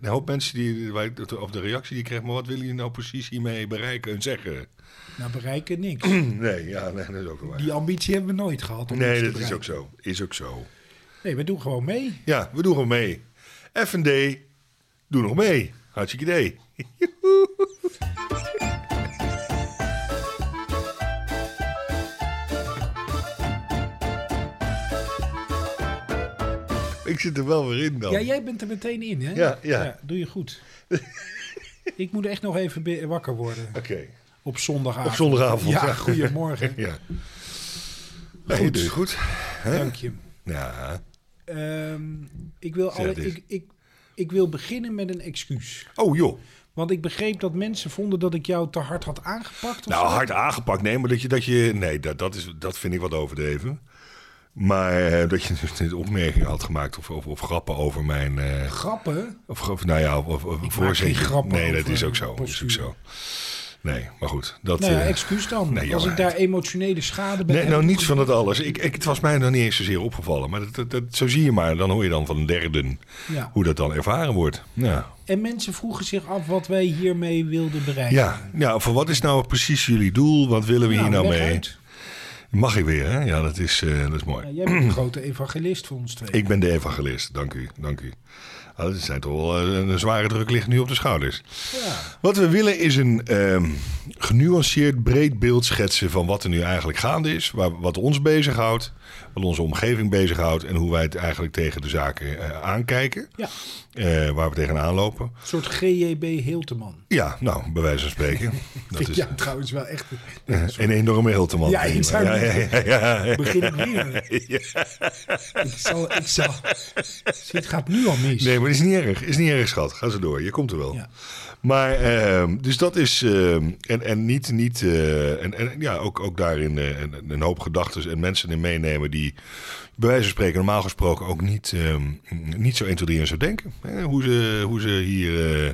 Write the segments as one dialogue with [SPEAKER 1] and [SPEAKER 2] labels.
[SPEAKER 1] Een hoop mensen die, wij- of de reactie die ik kreeg, maar wat willen jullie nou precies hiermee bereiken en zeggen?
[SPEAKER 2] Nou, bereiken niks.
[SPEAKER 1] Nee, ja, nee, dat is ook wel waar.
[SPEAKER 2] Die ambitie hebben we nooit gehad. om iets
[SPEAKER 1] Nee,
[SPEAKER 2] te
[SPEAKER 1] dat is
[SPEAKER 2] bereiken.
[SPEAKER 1] ook zo. Is ook zo.
[SPEAKER 2] Nee, we doen gewoon mee.
[SPEAKER 1] Ja, we doen gewoon mee. FND, doe nog mee. Hartstikke idee. Ik zit er wel weer in dan.
[SPEAKER 2] Ja, jij bent er meteen in, hè?
[SPEAKER 1] Oh. Ja, ja.
[SPEAKER 2] doe je goed. ik moet echt nog even be- wakker worden
[SPEAKER 1] Oké.
[SPEAKER 2] op zondagavond.
[SPEAKER 1] Op zondagavond,
[SPEAKER 2] Ja,
[SPEAKER 1] ja.
[SPEAKER 2] goedemorgen.
[SPEAKER 1] Ja. Nee, dus goed.
[SPEAKER 2] Dank je.
[SPEAKER 1] Ja.
[SPEAKER 2] Ehm, ik, wil
[SPEAKER 1] Zeg
[SPEAKER 2] alle,
[SPEAKER 1] dit.
[SPEAKER 2] ik, ik, ik wil beginnen met een excuus.
[SPEAKER 1] Oh joh.
[SPEAKER 2] Want ik begreep dat mensen vonden dat ik jou te hard had aangepakt. Of
[SPEAKER 1] Nou,
[SPEAKER 2] zo.
[SPEAKER 1] hard aangepakt. Nee, maar dat je. Dat je nee, dat, dat, is, dat vind ik wat overdreven. Maar eh, dat je dus dit opmerkingen had gemaakt of, of, of grappen over mijn. eh,
[SPEAKER 2] Grappen.
[SPEAKER 1] of, of nou ja, of, of, of voorzetje.
[SPEAKER 2] geen grappen
[SPEAKER 1] Nee, dat
[SPEAKER 2] over
[SPEAKER 1] is ook zo. Dat is ook
[SPEAKER 2] postuur.
[SPEAKER 1] zo. Nee, maar goed. Dat,
[SPEAKER 2] Nou ja,
[SPEAKER 1] eh,
[SPEAKER 2] excuus dan.
[SPEAKER 1] nee,
[SPEAKER 2] Als ik
[SPEAKER 1] jammer.
[SPEAKER 2] daar emotionele schade bij
[SPEAKER 1] Nee,
[SPEAKER 2] heb.
[SPEAKER 1] nou niets van dat alles. Ik, ik, het was mij nog niet eens zozeer opgevallen. Maar dat, dat, dat- zo zie je maar. Dan hoor je dan van een derden
[SPEAKER 2] Ja.
[SPEAKER 1] hoe dat dan ervaren wordt. Ja.
[SPEAKER 2] En mensen vroegen zich af wat wij hiermee wilden bereiken.
[SPEAKER 1] Ja, ja, voor wat is nou precies jullie doel? Wat willen we
[SPEAKER 2] Nou,
[SPEAKER 1] hier nou
[SPEAKER 2] leg
[SPEAKER 1] mee?
[SPEAKER 2] uit.
[SPEAKER 1] Mag ik weer, hè? Ja, dat is, eh, dat is mooi.
[SPEAKER 2] Ja, jij bent een grote evangelist voor ons twee.
[SPEAKER 1] Ik ben de evangelist, dank u, dank u. Ah, dat zijn toch wel, eh, een zware druk ligt nu op de schouders.
[SPEAKER 2] Ja.
[SPEAKER 1] Wat we willen is een ehm, genuanceerd, breed beeld schetsen van wat er nu eigenlijk gaande is. Waar, wat ons bezighoudt, wat onze omgeving bezighoudt en hoe wij het eigenlijk tegen de zaken eh, aankijken.
[SPEAKER 2] ja,
[SPEAKER 1] eh, waar we tegenaan lopen.
[SPEAKER 2] een soort GJB Hilteman.
[SPEAKER 1] Ja, nou, bij wijze van spreken. Dat is
[SPEAKER 2] Ja, trouwens wel echt.
[SPEAKER 1] een enorme Hilteman.
[SPEAKER 2] Ja, ik zou
[SPEAKER 1] ja,
[SPEAKER 2] niet-
[SPEAKER 1] ja, ja, ja, ja.
[SPEAKER 2] Begin ik weer. Ik zal, ik zal. Dit gaat nu al mis.
[SPEAKER 1] Nee, maar is niet erg. Is niet erg, schat. Ga zo door. Je komt er wel.
[SPEAKER 2] Ja.
[SPEAKER 1] Maar, ehm, dus dat is. ehm, en, en niet. niet eh, en, en ja, ook, ook daarin eh, een, een hoop gedachten en mensen in meenemen die. bij wijze van spreken, normaal gesproken ook niet. ehm, niet zo 1, 2, 3 en zo denken. Hè, hoe, ze, hoe ze hier. eh,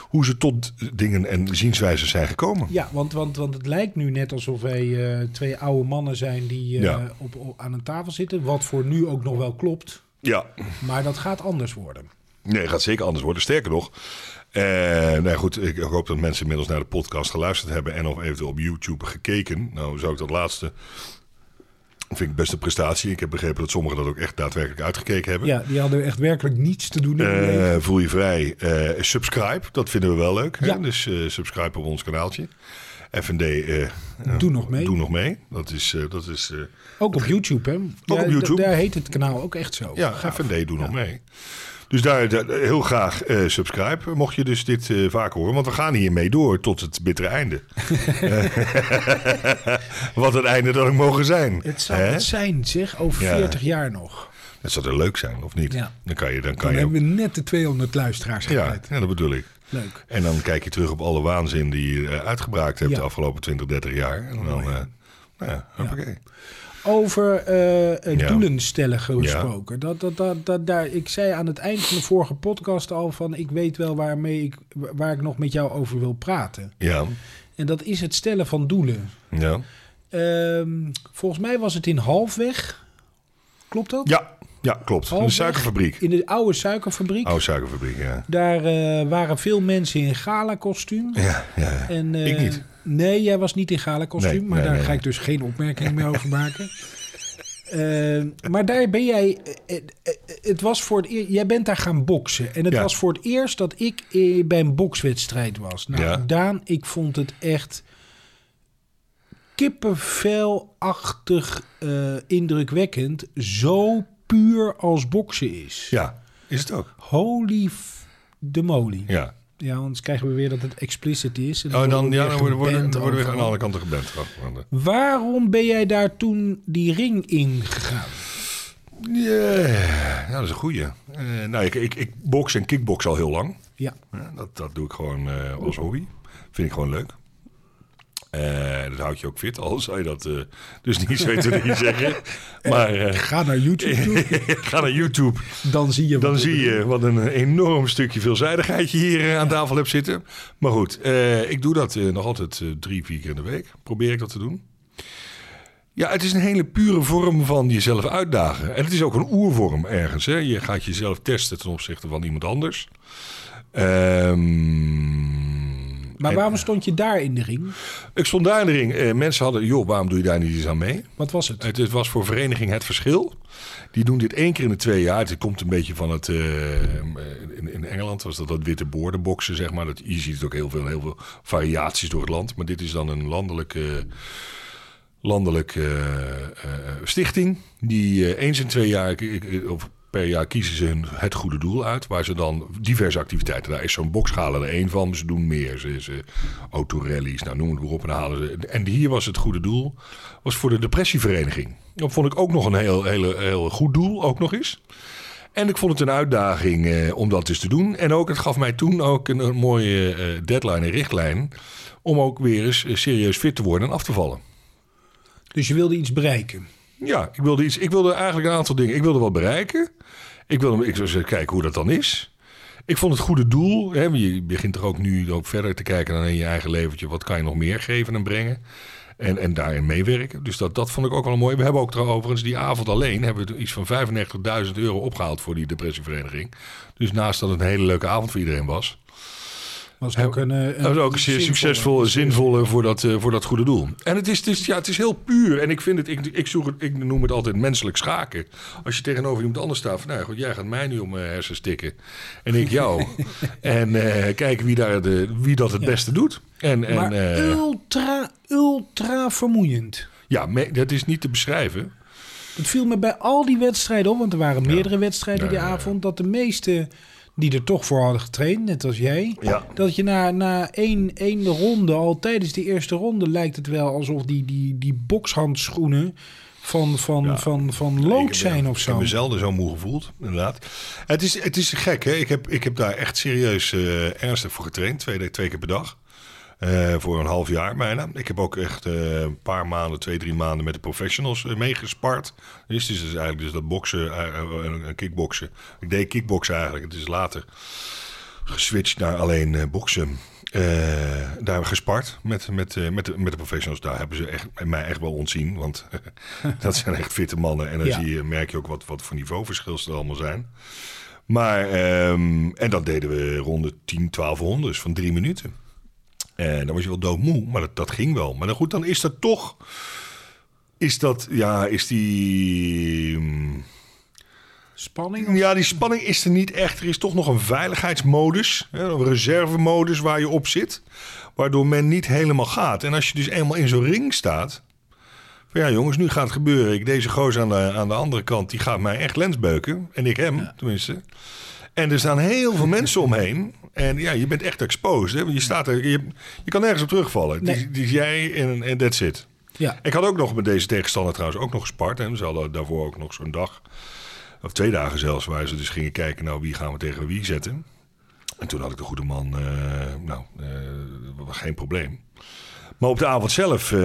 [SPEAKER 1] hoe ze tot dingen en zienswijzen zijn gekomen.
[SPEAKER 2] Ja, want, want, want het lijkt nu net alsof wij eh, twee oude mannen zijn die eh,
[SPEAKER 1] Ja.
[SPEAKER 2] op, op- aan een tafel zitten. Wat voor nu ook nog wel klopt.
[SPEAKER 1] Ja.
[SPEAKER 2] Maar dat gaat anders worden.
[SPEAKER 1] Nee, gaat zeker anders worden. Sterker nog. eh, nou ja, goed, ik hoop dat mensen inmiddels naar de podcast geluisterd hebben. en of eventueel op YouTube gekeken. Nou, zou ik dat laatste. vind ik best een prestatie. Ik heb begrepen dat sommigen dat ook echt daadwerkelijk uitgekeken hebben.
[SPEAKER 2] Ja, die hadden echt werkelijk niets te doen. in hun leven.
[SPEAKER 1] Eh, voel je vrij. eh, subscribe, dat vinden we wel leuk. Hè?
[SPEAKER 2] Ja.
[SPEAKER 1] Dus eh, subscribe op ons kanaaltje. FND, eh, eh,
[SPEAKER 2] Doe nog mee.
[SPEAKER 1] doe nog mee. Dat is. eh, dat is eh,
[SPEAKER 2] Ook op YouTube, hè? Ja,
[SPEAKER 1] op YouTube.
[SPEAKER 2] d- Daar heet het kanaal ook echt zo.
[SPEAKER 1] Ja,
[SPEAKER 2] Gaaf.
[SPEAKER 1] FND doe nog mee. Dus daar, daar- heel graag eh, subscribe, mocht je dus dit eh vaak horen. Want we gaan hiermee door tot het bittere einde. Eh, Wat een einde dat ook mogen zijn.
[SPEAKER 2] Het zou
[SPEAKER 1] Hè?
[SPEAKER 2] het zijn, zeg, over
[SPEAKER 1] Ja.
[SPEAKER 2] 40 jaar nog.
[SPEAKER 1] Het zou er leuk zijn, of niet?
[SPEAKER 2] Ja.
[SPEAKER 1] Dan kan je, dan kan
[SPEAKER 2] Dan
[SPEAKER 1] je ook-
[SPEAKER 2] hebben we net de 200 luisteraars
[SPEAKER 1] Ja,
[SPEAKER 2] gehad.
[SPEAKER 1] ja, dat bedoel ik.
[SPEAKER 2] Leuk.
[SPEAKER 1] En dan kijk je terug op alle waanzin die je eh, uitgebraakt hebt
[SPEAKER 2] Ja.
[SPEAKER 1] de afgelopen 20, 30 jaar. En dan, eh nou ja, hoppakee.
[SPEAKER 2] Over eh, eh,
[SPEAKER 1] Ja.
[SPEAKER 2] doelen stellen gesproken. Dat, dat, dat, dat, daar, ik zei aan het eind van de vorige podcast al van... ik weet wel waarmee ik, waar ik nog met jou over wil praten.
[SPEAKER 1] Ja,
[SPEAKER 2] En dat is het stellen van doelen.
[SPEAKER 1] ja.
[SPEAKER 2] Ehm, volgens mij was het in Halfweg. Klopt dat?
[SPEAKER 1] Ja, ja klopt. Een
[SPEAKER 2] Halfweg.
[SPEAKER 1] suikerfabriek.
[SPEAKER 2] In de oude suikerfabriek.
[SPEAKER 1] Oude suikerfabriek, ja.
[SPEAKER 2] Daar eh, waren veel mensen in gala-kostuum.
[SPEAKER 1] Ja, ja, ja.
[SPEAKER 2] En, eh,
[SPEAKER 1] Ik niet.
[SPEAKER 2] Nee, jij was niet in gala-kostuum,
[SPEAKER 1] Nee,
[SPEAKER 2] maar
[SPEAKER 1] nee,
[SPEAKER 2] daar
[SPEAKER 1] nee,
[SPEAKER 2] ga
[SPEAKER 1] nee.
[SPEAKER 2] ik dus geen opmerking meer over maken. Eh, maar daar ben jij. eh, eh, eh, het was voor het eer- jij bent daar gaan boksen. En het
[SPEAKER 1] Ja.
[SPEAKER 2] was voor het eerst dat ik eh, bij een bokswedstrijd was. Nou,
[SPEAKER 1] Ja.
[SPEAKER 2] Daan, ik vond het echt kippenvelachtig eh, indrukwekkend. Zo puur als boksen is.
[SPEAKER 1] Ja, is het ook.
[SPEAKER 2] Holy f- de moly.
[SPEAKER 1] Ja.
[SPEAKER 2] Ja, anders krijgen we weer dat het explicit is. En
[SPEAKER 1] Oh, dan,
[SPEAKER 2] we
[SPEAKER 1] ja,
[SPEAKER 2] weer
[SPEAKER 1] dan worden, worden,
[SPEAKER 2] geband
[SPEAKER 1] dan worden we aan
[SPEAKER 2] overal.
[SPEAKER 1] alle kanten geband. Frank. Want, eh,
[SPEAKER 2] Waarom ben jij daar toen die ring in gegaan?
[SPEAKER 1] Ja, dat is een goeie. Eh, nou, ik, ik, ik box en kickbox al heel lang.
[SPEAKER 2] Ja,
[SPEAKER 1] Ja, dat, dat doe ik gewoon eh, als hobby. Vind ik gewoon leuk. Eh, dat houdt je ook fit, al zou je dat eh, dus niet zo te niet zeggen. Maar eh,
[SPEAKER 2] ga naar YouTube toe,
[SPEAKER 1] ga naar YouTube.
[SPEAKER 2] dan zie je wat
[SPEAKER 1] Dan
[SPEAKER 2] ik
[SPEAKER 1] zie
[SPEAKER 2] bedoel.
[SPEAKER 1] je wat een eh, enorm stukje veelzijdigheid je hier eh, aan tafel hebt zitten. Maar goed, eh, ik doe dat eh, nog altijd eh, drie, vier keer in de week. Probeer ik dat te doen. Ja, het is een hele pure vorm van jezelf uitdagen. En het is ook een oervorm ergens. Hè? Je gaat jezelf testen ten opzichte van iemand anders. Ehm,
[SPEAKER 2] Maar
[SPEAKER 1] en-
[SPEAKER 2] waarom stond je daar in de ring?
[SPEAKER 1] Ik stond daar in de ring. Eh, mensen hadden, joh, waarom doe je daar niet eens aan mee?
[SPEAKER 2] Wat was het?
[SPEAKER 1] Het, het was voor vereniging Het Verschil. Die doen dit één keer in de twee jaar. Het komt een beetje van het... eh, in, in Engeland was dat dat witte boordenboksen, zeg maar. Dat, je ziet het ook heel veel, heel veel variaties door het land. Maar dit is dan een landelijke, landelijke eh, eh, stichting. Die eh, eens in twee jaar... ik- ik- ik- Of per jaar kiezen ze hun, het goede doel uit. Waar ze dan diverse activiteiten... Daar is zo'n bokschalen er één van. Ze doen meer. Ze, ze autorallies, nou noem het maar op. En, dan halen ze, en hier was het goede doel was voor de depressievereniging. Dat vond ik ook nog een heel, heel, heel goed doel, ook nog eens. En ik vond het een uitdaging eh, om dat eens te doen. En ook, het gaf mij toen ook een, een mooie eh, deadline en richtlijn... om ook weer eens eh, serieus fit te worden en af te vallen.
[SPEAKER 2] Dus je wilde iets bereiken.
[SPEAKER 1] Ja, ik wilde, iets, ik wilde eigenlijk een aantal dingen. Ik wilde wat bereiken. Ik wilde ik zou eens kijken hoe dat dan is. Ik vond het goede doel. Hè, je begint er ook nu ook verder te kijken dan in je eigen leventje. Wat kan je nog meer geven en brengen? En, en daarin meewerken. Dus dat, dat vond ik ook wel mooi. We hebben ook trouwens overigens die avond alleen... hebben we iets van 95.000 euro opgehaald voor die depressievereniging. Dus naast dat het een hele leuke avond voor iedereen was...
[SPEAKER 2] Was het ook een, eh, een
[SPEAKER 1] Dat is ook zeer
[SPEAKER 2] zinvolle-
[SPEAKER 1] succesvol en zinvol voor dat, eh, voor dat goede doel. En het is, het, is, ja, het is heel puur. En ik, vind het, ik, ik, zoek het, ik noem het altijd menselijk schaken. Als je tegenover iemand anders staat. Van, nou goed, jij gaat mij nu om mijn hersens tikken. En ik jou. en eh, kijken wie, daar de, wie dat het beste doet. En, en,
[SPEAKER 2] Maar
[SPEAKER 1] eh,
[SPEAKER 2] ultra, ultra vermoeiend.
[SPEAKER 1] ja, me- dat is niet te beschrijven.
[SPEAKER 2] Het viel me bij al die wedstrijden op, want er waren meerdere wedstrijden
[SPEAKER 1] Ja,
[SPEAKER 2] die
[SPEAKER 1] ja, ja.
[SPEAKER 2] avond, dat de meeste die er toch voor hadden getraind, net als jij,
[SPEAKER 1] Ja.
[SPEAKER 2] dat je na, na één, één ronde, al tijdens die eerste ronde, lijkt het wel alsof die, die, die bokshandschoenen van, van,
[SPEAKER 1] Ja.
[SPEAKER 2] van, van lood
[SPEAKER 1] Ik heb-
[SPEAKER 2] zijn of
[SPEAKER 1] Ik
[SPEAKER 2] zo.
[SPEAKER 1] heb me zelden zo moe gevoeld, inderdaad. Het is, het is gek, hè? Ik heb, ik heb daar echt serieus eh, ernstig voor getraind. Twee, twee keer per dag. Eh, voor een half jaar bijna. Ik heb ook echt eh, een paar maanden, twee, drie maanden met de professionals eh, meegespart. Dus het is dus eigenlijk dus dat boksen, eh, eh, eh, kickboksen. Ik deed kickboksen eigenlijk. Het is later geswitcht naar alleen eh, boksen. Eh, daar hebben we gespart met, met, eh, met, de, met de professionals. Daar hebben ze echt, mij echt wel ontzien. Want dat zijn echt fitte mannen. En dan
[SPEAKER 2] Ja.
[SPEAKER 1] zie je, merk je ook wat, wat voor niveauverschil er allemaal zijn. Maar, ehm, en dat deden we rond de 10, 12 rondes van drie minuten. En dan was je wel doodmoe, maar dat, dat ging wel. Maar dan goed, dan is dat toch... Is dat, ja, is die... mm,
[SPEAKER 2] Spanning?
[SPEAKER 1] ja, die spanning is er niet echt. Er is toch nog een veiligheidsmodus, hè, een reservemodus waar je op zit. Waardoor men niet helemaal gaat. En als je dus eenmaal in zo'n ring staat. Van ja, jongens, nu gaat het gebeuren. Ik, deze gozer aan de, aan de andere kant, die gaat mij echt lensbeuken. En ik hem, tenminste. En er staan heel veel mensen omheen. En ja, je bent echt exposed. Hè? want Je, staat er, je, je kan nergens op terugvallen. Het
[SPEAKER 2] Nee.
[SPEAKER 1] is- Het is jij en en that's it.
[SPEAKER 2] Ja.
[SPEAKER 1] Ik had ook nog met deze tegenstander trouwens ook nog gespart. En ze hadden daarvoor ook nog zo'n dag, of twee dagen zelfs, waar ze dus gingen kijken, nou wie gaan we tegen wie zetten. En toen had ik de goede man, eh, nou, eh, was geen probleem. Maar op de avond zelf eh,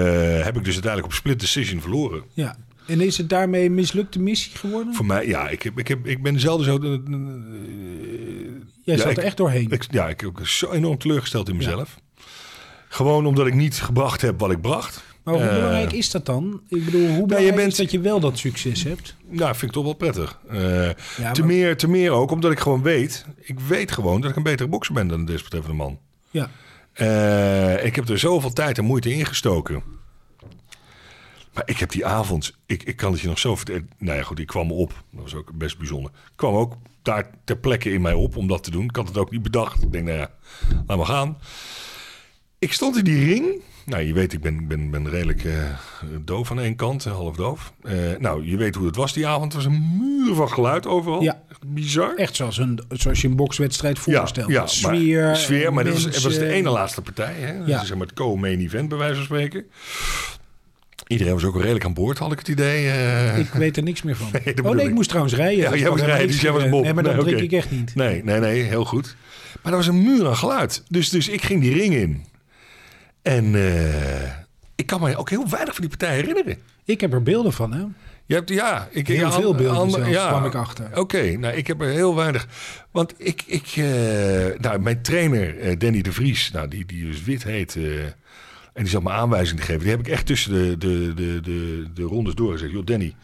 [SPEAKER 1] heb ik dus uiteindelijk op split decision verloren.
[SPEAKER 2] ja. En is het daarmee een mislukte missie geworden?
[SPEAKER 1] Voor mij, ja, ik, heb, ik, heb, ik ben zelden zo...
[SPEAKER 2] Jij
[SPEAKER 1] ja,
[SPEAKER 2] zat
[SPEAKER 1] ik-
[SPEAKER 2] er echt doorheen.
[SPEAKER 1] Ik, ja, ik heb zo enorm teleurgesteld in mezelf. Gewoon omdat ik niet gebracht heb wat ik bracht.
[SPEAKER 2] maar hoe
[SPEAKER 1] Eh,
[SPEAKER 2] belangrijk is dat dan? Ik bedoel, hoe belangrijk
[SPEAKER 1] Nou, bent-
[SPEAKER 2] is dat je wel dat succes hebt?
[SPEAKER 1] Nou, vind ik toch wel prettig. Eh,
[SPEAKER 2] Ja,
[SPEAKER 1] te,
[SPEAKER 2] maar-
[SPEAKER 1] meer, te meer ook, omdat ik gewoon weet... Ik weet gewoon dat ik een betere bokser ben dan de desbetreffende man.
[SPEAKER 2] Ja.
[SPEAKER 1] Eh, ik heb er zoveel tijd en moeite in gestoken. Maar ik heb die avond... Ik, ik kan het je nog zo vertellen. Nou ja, goed, ik kwam op. Dat was ook best bijzonder. Ik kwam ook daar ter plekke in mij op om dat te doen. Ik had het ook niet bedacht. Ik denk, nou ja, laat maar gaan. Ik stond in die ring. Nou, je weet, ik ben, ik ben, ben redelijk eh, doof aan één kant, eh, half doof. Eh, nou, je weet hoe het was die avond. Er was een muur van geluid overal.
[SPEAKER 2] Ja.
[SPEAKER 1] Echt Bizar.
[SPEAKER 2] Echt zoals, een, zoals je een bokswedstrijd voorstelt.
[SPEAKER 1] Ja, ja
[SPEAKER 2] sfeer,
[SPEAKER 1] maar, sfeer, maar dat was,
[SPEAKER 2] mensen.
[SPEAKER 1] het was de ene laatste partij. Hè? Dat
[SPEAKER 2] Ja.
[SPEAKER 1] is zeg maar het co-main event, bij wijze van spreken. Iedereen was ook redelijk aan boord, had ik het idee. eh.
[SPEAKER 2] Ik weet er niks meer van.
[SPEAKER 1] dat
[SPEAKER 2] oh
[SPEAKER 1] bedoel
[SPEAKER 2] nee,
[SPEAKER 1] ik.
[SPEAKER 2] ik moest trouwens rijden.
[SPEAKER 1] Ja,
[SPEAKER 2] Dat
[SPEAKER 1] jij
[SPEAKER 2] kan
[SPEAKER 1] was
[SPEAKER 2] helemaal
[SPEAKER 1] rijden,
[SPEAKER 2] niks
[SPEAKER 1] dus jij was Bob.
[SPEAKER 2] gebeuren. Nee, maar dat
[SPEAKER 1] Nee,
[SPEAKER 2] drink
[SPEAKER 1] oké.
[SPEAKER 2] ik echt niet.
[SPEAKER 1] Nee, nee, nee, heel goed. Maar er was een muur aan geluid. Dus, dus ik ging die ring in. En eh, ik kan me ook heel weinig van die partij herinneren.
[SPEAKER 2] Ik heb er beelden van, hè?
[SPEAKER 1] Je hebt, ja, ik,
[SPEAKER 2] Heel
[SPEAKER 1] ja,
[SPEAKER 2] veel beelden
[SPEAKER 1] ander-
[SPEAKER 2] zelfs, kwam ik achter.
[SPEAKER 1] Oké, nou ik heb er heel weinig. Want ik, ik eh, nou, mijn trainer eh, Danny de Vries, nou, die, die dus wit heet. eh, en die zat me aanwijzingen te geven. Die heb ik echt tussen de, de, de, de, de rondes doorgezegd. Joh, Danny,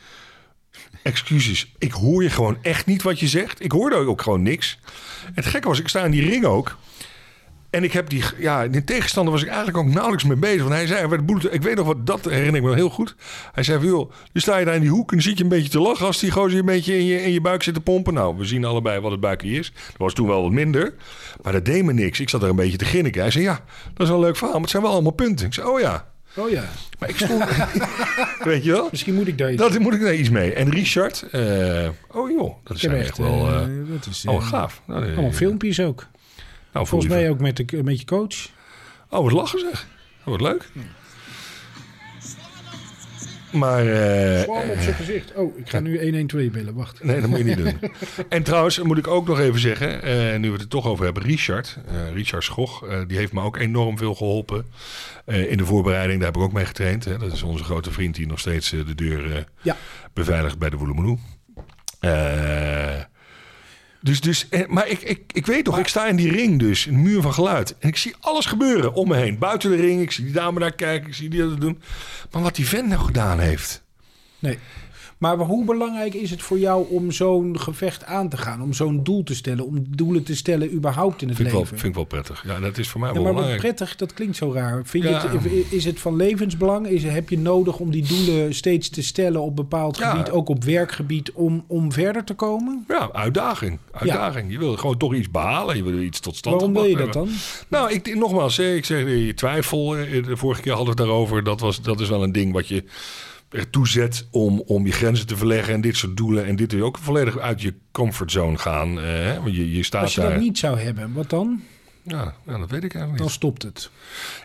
[SPEAKER 1] excuses. Ik hoor je gewoon echt niet wat je zegt. Ik hoorde ook gewoon niks. En het gekke was, ik sta in die ring ook. En ik heb die, ja, die tegenstander was ik eigenlijk ook nauwelijks mee bezig. Want hij zei, hij werd boel- ik weet nog wat, dat herinner ik me heel goed. Hij zei, van, joh, dan sta je daar in die hoek en dan zit je een beetje te lachen... als die gozer je een beetje in je, in je buik zit te pompen. Nou, we zien allebei wat het buikje is. Dat was toen wel wat minder. Maar dat deed me niks. Ik zat er een beetje te grinniken. Hij zei, ja, dat is wel een leuk verhaal, maar het zijn wel allemaal punten. Ik zei, oh ja.
[SPEAKER 2] Oh ja,
[SPEAKER 1] Maar ik stond, weet je wel?
[SPEAKER 2] misschien moet ik daar iets...
[SPEAKER 1] Dat moet ik daar iets mee. En Richard, eh, oh joh, dat
[SPEAKER 2] ik
[SPEAKER 1] is echt wel...
[SPEAKER 2] eh,
[SPEAKER 1] eh,
[SPEAKER 2] dat is,
[SPEAKER 1] oh,
[SPEAKER 2] eh,
[SPEAKER 1] wat gaaf. Nou, eh,
[SPEAKER 2] Allemaal filmpjes ook.
[SPEAKER 1] Nou,
[SPEAKER 2] Volgens mij ook met, de, met je coach.
[SPEAKER 1] Oh, wat lachen zeg. Oh, wat leuk. Maar... eh,
[SPEAKER 2] Kwam op zijn gezicht. Oh, ik ga nu 112 bellen, wacht.
[SPEAKER 1] Nee, dat moet je niet doen. En trouwens, moet ik ook nog even zeggen, eh, nu we het er toch over hebben, Richard, eh, Richard Schoch, eh, die heeft me ook enorm veel geholpen eh, in de voorbereiding. Daar heb ik ook mee getraind. Hè. Dat is onze grote vriend die nog steeds eh, de deur eh,
[SPEAKER 2] Ja.
[SPEAKER 1] beveiligt bij de Woelemoeloe. Eh dus, dus, eh, maar ik, ik, ik weet toch, ik sta in die ring dus, een muur van geluid. En ik zie alles gebeuren om me heen. Buiten de ring, ik zie die dame daar kijken, ik zie die dat doen. Maar wat die vent nou gedaan heeft.
[SPEAKER 2] Nee. Maar hoe belangrijk is het voor jou om zo'n gevecht aan te gaan? Om zo'n doel te stellen? Om doelen te stellen überhaupt in het
[SPEAKER 1] Vind ik, wel,
[SPEAKER 2] leven?
[SPEAKER 1] vind ik wel prettig. Ja, dat is voor mij
[SPEAKER 2] ja,
[SPEAKER 1] wel
[SPEAKER 2] maar wat
[SPEAKER 1] belangrijk.
[SPEAKER 2] prettig, dat klinkt zo raar. Vind
[SPEAKER 1] Ja.
[SPEAKER 2] je het, is het van levensbelang? Is, heb je nodig om die doelen steeds te stellen op bepaald
[SPEAKER 1] Ja.
[SPEAKER 2] gebied, ook op werkgebied, om, om verder te komen?
[SPEAKER 1] Ja, uitdaging. Uitdaging. Je wil gewoon toch iets behalen. Je wil iets tot stand
[SPEAKER 2] Waarom wil je dat
[SPEAKER 1] gebracht
[SPEAKER 2] dan?
[SPEAKER 1] hebben. Nou, ik, nogmaals, hè, ik zeg eh, je twijfel. eh, De vorige keer hadden we het daarover. Dat, was, dat is wel een ding wat je ertoe zet om, om je grenzen te verleggen. En dit soort doelen. En dit wil je ook volledig uit je comfortzone gaan. eh, hè, want je, je staat
[SPEAKER 2] Als je
[SPEAKER 1] daar.
[SPEAKER 2] dat niet zou hebben, wat dan?
[SPEAKER 1] Ja, nou, dat weet ik eigenlijk
[SPEAKER 2] Dan
[SPEAKER 1] niet.
[SPEAKER 2] stopt het.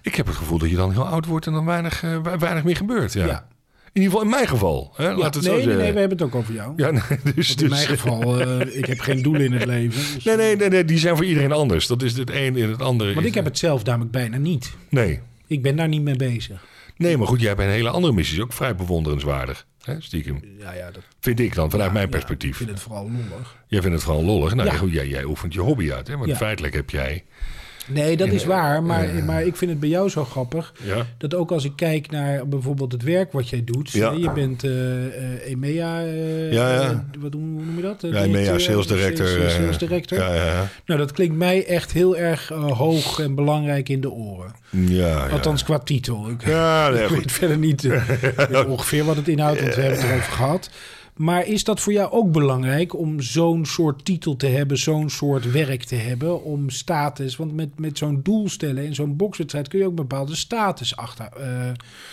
[SPEAKER 1] Ik heb het gevoel dat je dan heel oud wordt en dan weinig, eh, we- weinig meer gebeurt. Ja.
[SPEAKER 2] Ja.
[SPEAKER 1] In ieder geval in mijn geval. Hè? Laat het
[SPEAKER 2] nee,
[SPEAKER 1] zo
[SPEAKER 2] nee,
[SPEAKER 1] zeggen.
[SPEAKER 2] nee, we hebben het ook over jou.
[SPEAKER 1] Ja, nee, dus,
[SPEAKER 2] Want in
[SPEAKER 1] dus-
[SPEAKER 2] mijn geval, eh, ik heb geen doelen in het leven. dus-
[SPEAKER 1] Nee, nee, nee, nee, die zijn voor iedereen anders. Dat is het een en het andere.
[SPEAKER 2] Want
[SPEAKER 1] is-
[SPEAKER 2] ik heb het zelf namelijk bijna niet.
[SPEAKER 1] Nee.
[SPEAKER 2] Ik ben daar niet mee bezig.
[SPEAKER 1] Nee, maar goed, jij hebt een hele andere missie. Is ook vrij bewonderenswaardig. Hè, stiekem.
[SPEAKER 2] Ja, ja, dat
[SPEAKER 1] Vind ik dan, vanuit mijn
[SPEAKER 2] ja, Ik
[SPEAKER 1] perspectief.
[SPEAKER 2] vind het vooral lollig.
[SPEAKER 1] Jij vindt het gewoon lollig. Nou,
[SPEAKER 2] Ja.
[SPEAKER 1] goed, jij, jij oefent je hobby uit. Hè? Want
[SPEAKER 2] Ja.
[SPEAKER 1] feitelijk heb jij...
[SPEAKER 2] Nee, dat is waar, maar, maar ik vind het bij jou zo grappig.
[SPEAKER 1] Ja.
[SPEAKER 2] Dat ook als ik kijk naar bijvoorbeeld het werk wat jij doet.
[SPEAKER 1] Ja.
[SPEAKER 2] Je bent eh, eh, EMEA. eh,
[SPEAKER 1] Ja, ja.
[SPEAKER 2] eh, wat noem, hoe noem je dat? Eh,
[SPEAKER 1] Ja, ik ben ja,
[SPEAKER 2] directeur,
[SPEAKER 1] sales director.
[SPEAKER 2] Sales,
[SPEAKER 1] eh,
[SPEAKER 2] sales director.
[SPEAKER 1] Ja, ja,
[SPEAKER 2] Nou, dat klinkt mij echt heel erg eh, hoog en belangrijk in de oren.
[SPEAKER 1] ja. ja.
[SPEAKER 2] Althans, qua titel. Ik,
[SPEAKER 1] Ja, nee,
[SPEAKER 2] ik
[SPEAKER 1] goed.
[SPEAKER 2] weet verder niet eh, ongeveer wat het inhoudt, want we hebben het erover gehad. Maar is dat voor jou ook belangrijk om zo'n soort titel te hebben, zo'n soort werk te hebben, om status? Want met, met zo'n doel stellen en zo'n bokswedstrijd kun je ook bepaalde status achter, eh,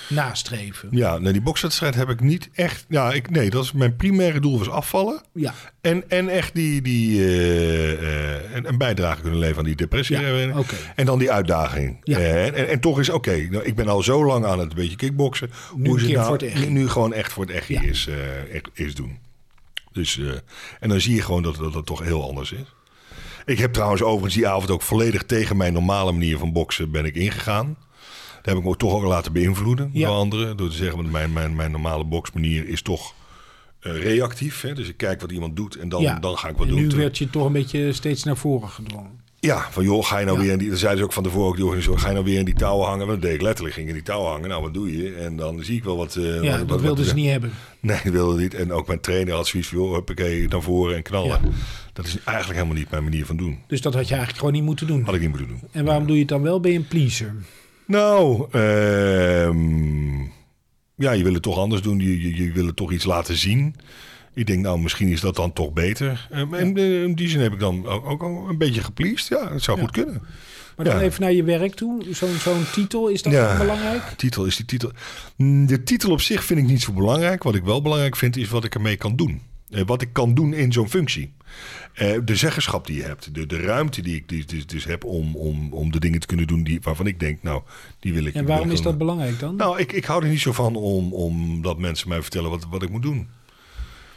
[SPEAKER 2] nastreven.
[SPEAKER 1] Ja, nee, die bokswedstrijd heb ik niet echt... Ja, ik, nee, dat is mijn primaire doel was afvallen.
[SPEAKER 2] Ja,
[SPEAKER 1] En, en echt die, die eh, eh, een, een bijdrage kunnen leveren aan die depressie. Eh,
[SPEAKER 2] Ja, oké.
[SPEAKER 1] En dan die uitdaging.
[SPEAKER 2] Ja.
[SPEAKER 1] Eh, en, en, en toch is, oké, nou, ik ben al zo lang aan het een beetje kickboksen.
[SPEAKER 2] Nu een
[SPEAKER 1] is het
[SPEAKER 2] keer
[SPEAKER 1] nou-
[SPEAKER 2] voor het echt.
[SPEAKER 1] nu- Nu gewoon echt voor het echt
[SPEAKER 2] Ja.
[SPEAKER 1] is, eh, echt is doen. Dus, eh, en dan zie je gewoon dat, dat dat toch heel anders is. Ik heb trouwens overigens die avond ook volledig tegen mijn normale manier van boksen ben ik ingegaan. Daar heb ik me toch ook laten beïnvloeden
[SPEAKER 2] Ja.
[SPEAKER 1] door anderen. Door te zeggen, want mijn, mijn, mijn normale boksmanier is toch eh, reactief. Hè? Dus ik kijk wat iemand doet en dan,
[SPEAKER 2] ja.
[SPEAKER 1] dan ga ik wat
[SPEAKER 2] en
[SPEAKER 1] doen.
[SPEAKER 2] Nu
[SPEAKER 1] Terwijl-
[SPEAKER 2] werd je toch een beetje steeds naar voren gedwongen.
[SPEAKER 1] ja, van joh, ga je nou
[SPEAKER 2] Ja.
[SPEAKER 1] weer in die... Dat zeiden ze ook van tevoren, ook die organisatie, ga je nou weer in die touwen hangen? Want dat deed ik letterlijk, ging in die touwen hangen. Nou, wat doe je? En dan zie ik wel wat... eh, wat-
[SPEAKER 2] ja,
[SPEAKER 1] wat-
[SPEAKER 2] dat
[SPEAKER 1] wat-
[SPEAKER 2] wilden ze niet hebben.
[SPEAKER 1] Nee, dat wilde niet. En ook mijn trainer had zoiets van, joh, huppakee, naar voren en knallen.
[SPEAKER 2] Ja.
[SPEAKER 1] Dat is eigenlijk helemaal niet mijn manier van doen.
[SPEAKER 2] Dus dat had je eigenlijk gewoon niet moeten doen.
[SPEAKER 1] Had ik niet moeten doen.
[SPEAKER 2] En waarom doe je het dan wel? Ben je een pleaser?
[SPEAKER 1] Nou, ehm, ja, je wil het toch anders doen. Je, je, je wil het toch iets laten zien. Ik denk, nou, misschien is dat dan toch beter. Ehm, en eh, in die zin heb ik dan ook, ook al een beetje gepleased. Ja, dat zou
[SPEAKER 2] Ja.
[SPEAKER 1] goed kunnen.
[SPEAKER 2] Maar dan
[SPEAKER 1] Ja.
[SPEAKER 2] even naar je werk toe. Zo'n zo'n titel, is dat
[SPEAKER 1] Ja.
[SPEAKER 2] ook belangrijk?
[SPEAKER 1] Titel is die titel. Mm, De titel op zich vind ik niet zo belangrijk. Wat ik wel belangrijk vind, is wat ik ermee kan doen. Eh, Wat ik kan doen in zo'n functie. Eh, de zeggenschap die je hebt. De, de ruimte die ik die, dus, dus heb om, om, om de dingen te kunnen doen die, waarvan ik denk, nou, die wil ik.
[SPEAKER 2] En waarom
[SPEAKER 1] wil ik
[SPEAKER 2] is dat
[SPEAKER 1] dan-
[SPEAKER 2] belangrijk dan?
[SPEAKER 1] Nou, ik, ik hou er niet zo van om, om dat mensen mij vertellen wat, wat ik moet doen.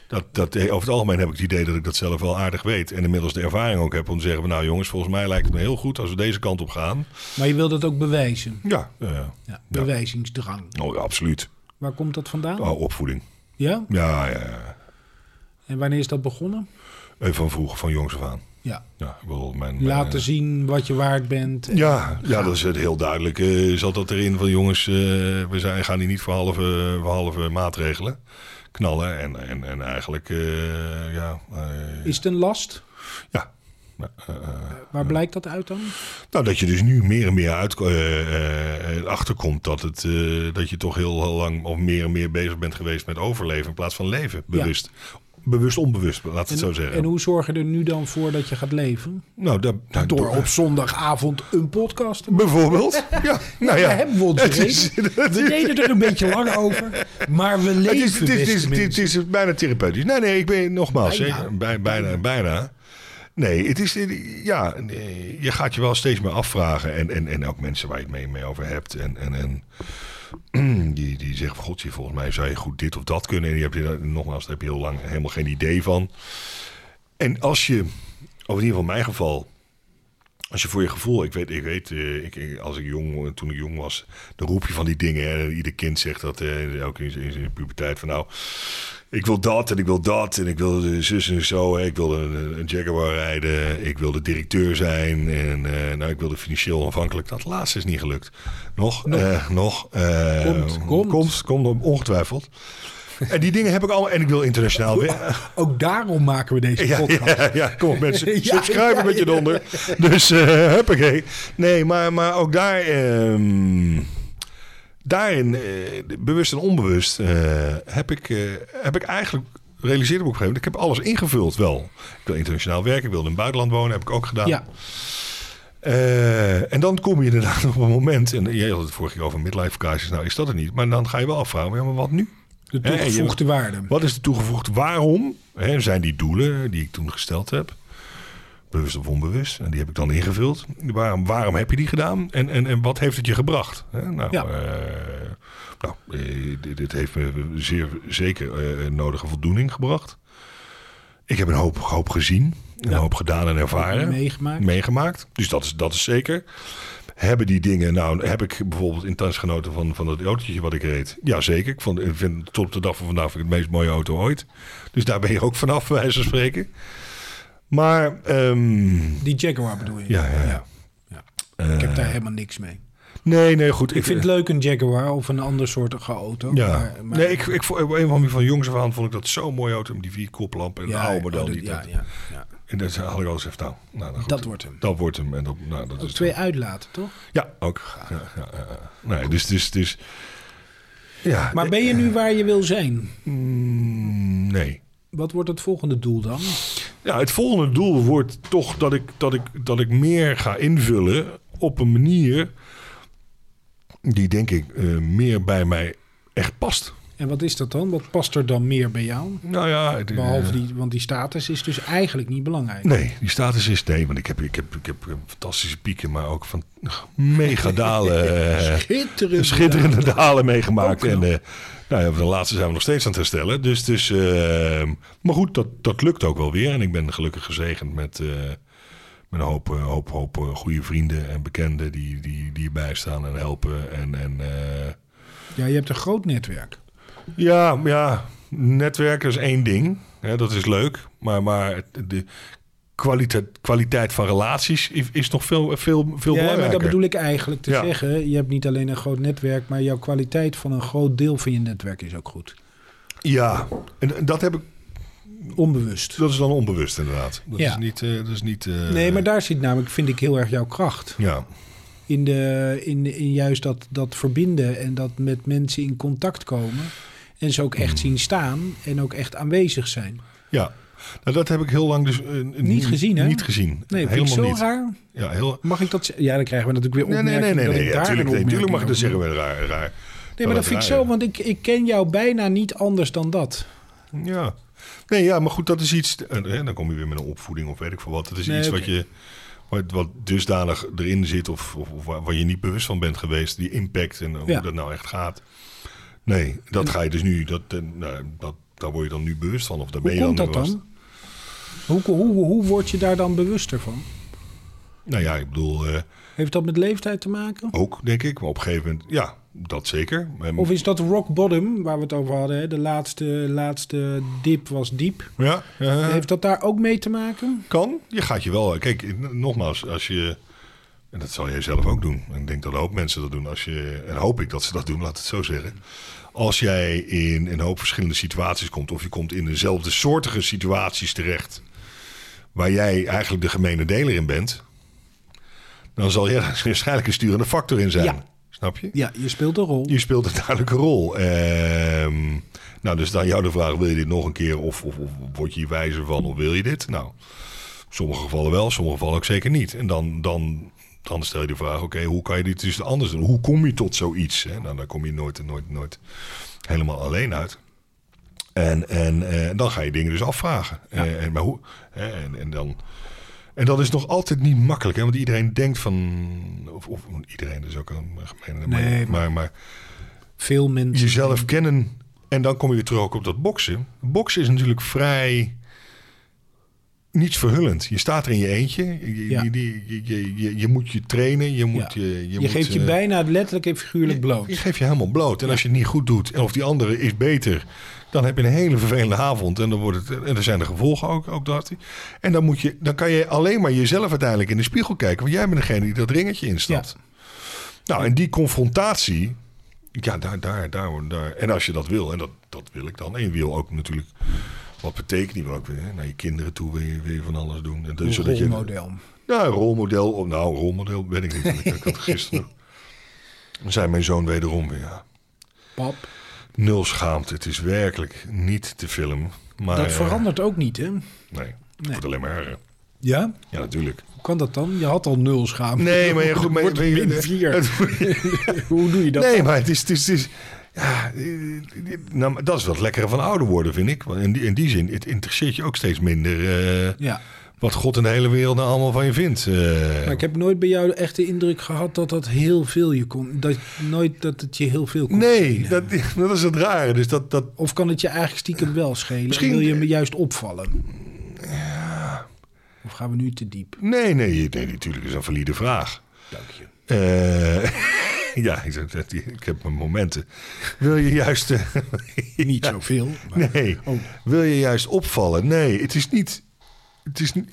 [SPEAKER 1] Dat, dat, eh, over het algemeen heb ik het idee dat ik dat zelf wel aardig weet. En inmiddels de ervaring ook heb om te zeggen: van, Nou, jongens, volgens mij lijkt het me heel goed als we deze kant op gaan.
[SPEAKER 2] Maar je wil dat ook bewijzen.
[SPEAKER 1] Ja, eh,
[SPEAKER 2] Ja,
[SPEAKER 1] Ja.
[SPEAKER 2] bewijzingsdrang.
[SPEAKER 1] oh, ja, absoluut.
[SPEAKER 2] Waar komt dat vandaan?
[SPEAKER 1] Oh, opvoeding.
[SPEAKER 2] Ja?
[SPEAKER 1] Ja, ja, ja.
[SPEAKER 2] En wanneer is dat begonnen?
[SPEAKER 1] Eh, Van vroeger, van jongs af aan.
[SPEAKER 2] Ja.
[SPEAKER 1] Ja, ik wil mijn,
[SPEAKER 2] Laten
[SPEAKER 1] mijn-
[SPEAKER 2] zien wat je waard bent. En-
[SPEAKER 1] Eh, Ja, ja, dat is het heel duidelijk. eh, zat dat erin van jongens, eh, we zijn, gaan die niet voor halve, voor halve maatregelen knallen. En, en, en eigenlijk, eh, ja. eh,
[SPEAKER 2] Is het een last?
[SPEAKER 1] ja. Ja, eh, eh.
[SPEAKER 2] Waar blijkt dat uit dan?
[SPEAKER 1] Nou, dat je dus nu meer en meer uit, eh, eh, achterkomt dat, het, eh, dat je toch heel, heel lang of meer en meer bezig bent geweest met overleven in plaats van leven. Bewust. Bewust, onbewust, laat het zo
[SPEAKER 2] En,
[SPEAKER 1] zeggen.
[SPEAKER 2] en hoe zorg je er nu dan voor dat je gaat leven?
[SPEAKER 1] nou, daar, daar-
[SPEAKER 2] Door op zondagavond een podcast te
[SPEAKER 1] Bijvoorbeeld. Ja, nou ja.
[SPEAKER 2] Daar hebben we ons
[SPEAKER 1] Het
[SPEAKER 2] reden.
[SPEAKER 1] is-
[SPEAKER 2] We deden er een beetje lang over, maar we
[SPEAKER 1] Het
[SPEAKER 2] leven
[SPEAKER 1] is, het, is, het, is,
[SPEAKER 2] beste
[SPEAKER 1] het, is,
[SPEAKER 2] mensen.
[SPEAKER 1] het is bijna therapeutisch. Nee, nee, ik ben nogmaals.
[SPEAKER 2] Bijna.
[SPEAKER 1] Bijna. Bij, bijna, bijna. Nee, het is. Ja, nee, je gaat je wel steeds meer afvragen. En, en, en ook mensen waar je het mee, mee over hebt. En, en, en die, die zeggen: van, God, je, volgens mij zou je goed dit of dat kunnen. En die heb je, nogmaals, daar heb je heel lang helemaal geen idee van. En als je, of in ieder geval in mijn geval. Als je voor je gevoel, ik weet, ik weet, eh, ik, ik- als ik jong, eh, toen ik jong was, dan roep je van die dingen. En ieder kind zegt dat, eh, ook in zijn- in zijn puberteit, van nou, ik wil dat en ik wil dat en ik wil de zus en zo. hè. Ik wil een, een Jaguar rijden, ik wil de directeur zijn en eh, nou, ik wilde financieel afhankelijk. Dat laatste is niet gelukt. Nog, nog, nog. eh,
[SPEAKER 2] Komt, komt.
[SPEAKER 1] Komt, komt, ongetwijfeld. En die dingen heb ik allemaal. En ik wil internationaal weer.
[SPEAKER 2] Ook daarom maken we deze
[SPEAKER 1] Ja,
[SPEAKER 2] podcast.
[SPEAKER 1] ja, ja, kom op mensen.
[SPEAKER 2] Ja,
[SPEAKER 1] Subscribe
[SPEAKER 2] ja,
[SPEAKER 1] een beetje
[SPEAKER 2] ja.
[SPEAKER 1] eronder. Dus eh huppakee. Nee, maar, maar ook daar... ehm, daarin, eh, bewust en onbewust, eh, heb, ik, eh, heb ik eigenlijk... realiseerde me op een gegeven moment... ik heb alles ingevuld wel. Ik wil internationaal werken, ik wilde in het buitenland wonen, heb ik ook gedaan.
[SPEAKER 2] Ja,
[SPEAKER 1] Eh, en dan kom je inderdaad op een moment... en jij had het vorige keer over midlife crisis, nou is dat het niet. Maar dan ga je wel afvragen, ja, maar wat nu?
[SPEAKER 2] de
[SPEAKER 1] Ja, en je-
[SPEAKER 2] toegevoegde waarde.
[SPEAKER 1] Wat is de toegevoegd waarom? Hè, zijn die doelen die ik toen gesteld heb, bewust of onbewust, en die heb ik dan ingevuld. Waarom, waarom heb je die gedaan en, en, en wat heeft het je gebracht? Hè, nou,
[SPEAKER 2] Ja.
[SPEAKER 1] eh, nou eh, dit, dit heeft me zeer zeker eh, nodige voldoening gebracht. Ik heb een hoop, hoop gezien, een
[SPEAKER 2] Ja.
[SPEAKER 1] hoop gedaan en ervaren
[SPEAKER 2] Meegemaakt.
[SPEAKER 1] meegemaakt. Dus dat is, dat is zeker. Hebben die dingen, nou heb ik bijvoorbeeld intens genoten van, van dat autootje wat ik reed. Ja, zeker. Ik, vond, ik vind tot op de dag van vandaag vind ik het meest mooie auto ooit. Dus daar ben je ook vanaf, bij wijze van spreken. Maar, ehm,
[SPEAKER 2] Die Jaguar bedoel je?
[SPEAKER 1] ja, ja, ja.
[SPEAKER 2] Ja.
[SPEAKER 1] Eh,
[SPEAKER 2] Ik heb daar helemaal niks mee.
[SPEAKER 1] nee, nee, goed.
[SPEAKER 2] Ik vind het leuk een Jaguar of een ander soort auto.
[SPEAKER 1] Ja,
[SPEAKER 2] maar- maar-
[SPEAKER 1] nee, ik, ik, vond- op een van die van jongs af aan vond ik dat zo'n mooie auto. met Die vier koplampen en
[SPEAKER 2] Ja,
[SPEAKER 1] een oude model.
[SPEAKER 2] oh, dat-
[SPEAKER 1] die,
[SPEAKER 2] ja,
[SPEAKER 1] dat,
[SPEAKER 2] ja, ja.
[SPEAKER 1] En dat had ik altijd gezegd, nou, nou, nou, goed.
[SPEAKER 2] Dat wordt hem.
[SPEAKER 1] Dat wordt hem. En dat, nou, dat
[SPEAKER 2] Ook
[SPEAKER 1] is
[SPEAKER 2] twee uitlaten, toch?
[SPEAKER 1] Ja, ook. Ja, ja, ja, ja. Nee, dus, dus, dus. Ja,
[SPEAKER 2] Maar ben je nu waar je wil zijn?
[SPEAKER 1] mm, nee.
[SPEAKER 2] Wat wordt het volgende doel dan?
[SPEAKER 1] Ja, het volgende doel wordt toch dat ik, dat ik, dat ik meer ga invullen op een manier die denk ik eh, meer bij mij echt past.
[SPEAKER 2] En wat is dat dan? Wat past er dan meer bij jou?
[SPEAKER 1] Nou ja, het, eh,
[SPEAKER 2] Behalve die, want die status is dus eigenlijk niet belangrijk.
[SPEAKER 1] Nee, die status is nee, want ik heb, ik heb, ik heb fantastische pieken, maar ook van mega dalen. eh,
[SPEAKER 2] Schitterend.
[SPEAKER 1] schitterende dalen meegemaakt.
[SPEAKER 2] Ook
[SPEAKER 1] En
[SPEAKER 2] knap.
[SPEAKER 1] eh, nou ja, de laatste zijn we nog steeds aan het herstellen. Dus, dus, eh, maar goed, dat, dat lukt ook wel weer. En ik ben gelukkig gezegend met, eh, met een hoop, eh, hoop, hoop eh, goede vrienden en bekenden die, die, die erbij staan en helpen. En, en, eh,
[SPEAKER 2] Ja, je hebt een groot netwerk.
[SPEAKER 1] ja, ja, netwerken is één ding. Hè, dat is leuk. Maar, maar het- de kwaliteit, kwaliteit van relaties is, is nog veel, veel, veel
[SPEAKER 2] Ja, maar
[SPEAKER 1] belangrijker.
[SPEAKER 2] dat bedoel ik eigenlijk te
[SPEAKER 1] Ja.
[SPEAKER 2] zeggen. Je hebt niet alleen een groot netwerk, maar jouw kwaliteit van een groot deel van je netwerk is ook goed.
[SPEAKER 1] Ja, en dat heb ik
[SPEAKER 2] Onbewust.
[SPEAKER 1] Dat is dan onbewust inderdaad. Dat
[SPEAKER 2] Ja.
[SPEAKER 1] is niet... eh, dat is niet eh,
[SPEAKER 2] Nee, maar daar zit namelijk, vind ik, heel erg jouw kracht.
[SPEAKER 1] Ja,
[SPEAKER 2] In, de, in, in juist dat, dat verbinden en dat met mensen in contact komen. En ze ook echt
[SPEAKER 1] Hmm.
[SPEAKER 2] zien staan en ook echt aanwezig zijn.
[SPEAKER 1] ja. Nou, dat heb ik heel lang dus... eh,
[SPEAKER 2] gezien, hè?
[SPEAKER 1] Niet gezien.
[SPEAKER 2] Nee, vind ik
[SPEAKER 1] Helemaal
[SPEAKER 2] zo
[SPEAKER 1] niet.
[SPEAKER 2] raar.
[SPEAKER 1] Ja, heel...
[SPEAKER 2] Mag ik dat zeggen? Ja, dan krijgen we natuurlijk weer
[SPEAKER 1] Nee, nee,
[SPEAKER 2] opmerkingen.
[SPEAKER 1] nee, nee.
[SPEAKER 2] dat
[SPEAKER 1] nee,
[SPEAKER 2] ik
[SPEAKER 1] ja,
[SPEAKER 2] daar een
[SPEAKER 1] tuurlijk, nee, tuurlijk mag ik dat
[SPEAKER 2] opmerking
[SPEAKER 1] zeggen.
[SPEAKER 2] over
[SPEAKER 1] Wel raar, raar.
[SPEAKER 2] doe. Nee, maar dat vind ik
[SPEAKER 1] raar,
[SPEAKER 2] zo, want ik, ik ken jou bijna niet anders dan dat.
[SPEAKER 1] Ja. Nee, ja, maar goed, dat is iets... en, hè, dan kom je weer met een opvoeding of weet ik veel wat. Dat is
[SPEAKER 2] Nee,
[SPEAKER 1] iets
[SPEAKER 2] oké.
[SPEAKER 1] wat je... Wat, wat dusdanig erin zit of, of, of waar waar je niet bewust van bent geweest. Die impact en hoe
[SPEAKER 2] Ja.
[SPEAKER 1] dat nou echt gaat. Nee, dat ga je dus nu... Dat, eh, nou, dat, daar word je dan nu bewust van. Of daar
[SPEAKER 2] Hoe
[SPEAKER 1] ben je
[SPEAKER 2] komt
[SPEAKER 1] dan
[SPEAKER 2] dat
[SPEAKER 1] bewust-
[SPEAKER 2] dan? Hoe, hoe, hoe word je daar dan bewuster van?
[SPEAKER 1] Nou ja, ik bedoel, eh,
[SPEAKER 2] Heeft dat met leeftijd te maken?
[SPEAKER 1] ook denk ik. Maar op een gegeven moment, ja, dat zeker. Ehm,
[SPEAKER 2] Of is dat rock bottom, waar we het over hadden? Hè? De laatste, laatste dip was diep.
[SPEAKER 1] ja, eh,
[SPEAKER 2] Heeft dat daar ook mee te maken?
[SPEAKER 1] kan. Je gaat je wel. eh, Kijk, n- nogmaals, als je. En dat zal jij zelf ook doen. En ik denk dat een hoop mensen dat doen. Als je, en hoop ik dat ze dat doen, laat het zo zeggen. Als jij in een hoop verschillende situaties komt. of je komt in dezelfde soortige situaties terecht. waar jij eigenlijk de gemene deler in bent. dan zal jij daar waarschijnlijk een sturende factor in zijn.
[SPEAKER 2] Ja.
[SPEAKER 1] Snap je?
[SPEAKER 2] Ja, je speelt een rol.
[SPEAKER 1] Je speelt een duidelijke rol. Ehm, nou, dus dan jou de vraag: wil je dit nog een keer? Of, of, of word je hier wijzer van? Of wil je dit? Nou, sommige gevallen wel, sommige gevallen ook zeker niet. En dan, dan, dan stel je de vraag: oké, hoe kan je dit dus anders doen? Hoe kom je tot zoiets? Hè? Nou, daar kom je nooit, nooit, nooit helemaal alleen uit. En, en eh, dan ga je dingen dus afvragen. Eh, en, maar hoe, hè, en, en dan. En dat is nog altijd niet makkelijk, hè? want iedereen denkt van. Of, of iedereen is ook een gemene. maar-
[SPEAKER 2] Nee, maar-
[SPEAKER 1] maar, maar
[SPEAKER 2] Veel mensen.
[SPEAKER 1] jezelf kennen. En dan kom je weer terug ook op dat boksen. Boksen is natuurlijk vrij niets verhullend. Je staat er in je eentje. Je,
[SPEAKER 2] Ja.
[SPEAKER 1] je, je, je, je, je moet je trainen. Je, moet,
[SPEAKER 2] Ja.
[SPEAKER 1] je, je,
[SPEAKER 2] Je,
[SPEAKER 1] moet,
[SPEAKER 2] geeft je
[SPEAKER 1] eh,
[SPEAKER 2] bijna letterlijk en figuurlijk bloot.
[SPEAKER 1] Je, je geeft je helemaal bloot. En als je het niet goed doet, en of die andere is beter, dan heb je een hele vervelende avond. En dan wordt het, en er zijn de gevolgen ook, ook dat. En dan, moet je, dan kan je alleen maar jezelf uiteindelijk in de spiegel kijken. Want jij bent degene die dat ringetje instapt. Nou, en die confrontatie, ja, daar, daar, daar, daar. En als je dat wil, en dat, dat wil ik dan. En je wil ook natuurlijk, wat betekent die wil ook weer? hè? Naar je kinderen toe wil je, wil je van alles doen. En dus,
[SPEAKER 2] Een
[SPEAKER 1] zodat je-
[SPEAKER 2] rolmodel.
[SPEAKER 1] ja, een rolmodel. Oh, Nou, een rolmodel ben ik niet. want Ik had gisteren. Dan zei mijn zoon wederom weer. Ja.
[SPEAKER 2] Pap.
[SPEAKER 1] Nul schaamte. Het is werkelijk niet te filmen. Maar,
[SPEAKER 2] dat
[SPEAKER 1] eh,
[SPEAKER 2] verandert ook niet, hè?
[SPEAKER 1] nee, het wordt alleen maar erger.
[SPEAKER 2] Ja?
[SPEAKER 1] Ja, natuurlijk.
[SPEAKER 2] Hoe kan dat dan? Je had al nul schaamte.
[SPEAKER 1] Nee, maar ja, goed. Maar,
[SPEAKER 2] Wordt
[SPEAKER 1] weet je,
[SPEAKER 2] min
[SPEAKER 1] eh,
[SPEAKER 2] vier.
[SPEAKER 1] het-
[SPEAKER 2] Hoe doe je dat?
[SPEAKER 1] nee, maar het is... Het is, het is ja, eh, eh, nou, maar dat is wat lekkere van ouder worden, vind ik. Want In die, in die zin, het interesseert je ook steeds minder eh,
[SPEAKER 2] Ja,
[SPEAKER 1] wat God en de hele wereld nou allemaal van je vindt. eh.
[SPEAKER 2] maar ik heb nooit bij jou echt de indruk gehad dat dat heel veel je kon. Dat, nooit dat het je heel veel kon.
[SPEAKER 1] nee, dat, dat is het rare. Dus dat, dat,
[SPEAKER 2] Of kan het je eigenlijk stiekem wel schelen?
[SPEAKER 1] Misschien-
[SPEAKER 2] Wil je me juist opvallen? Of gaan we nu te diep?
[SPEAKER 1] Nee, nee, nee, natuurlijk is een valide vraag.
[SPEAKER 2] Dank je.
[SPEAKER 1] Eh, ja, ik, zeg dat- ik heb mijn momenten. Wil je juist. eh,
[SPEAKER 2] Niet zoveel. maar-
[SPEAKER 1] nee.
[SPEAKER 2] Oh.
[SPEAKER 1] Wil je juist opvallen? Nee, het is niet. Het is, niet-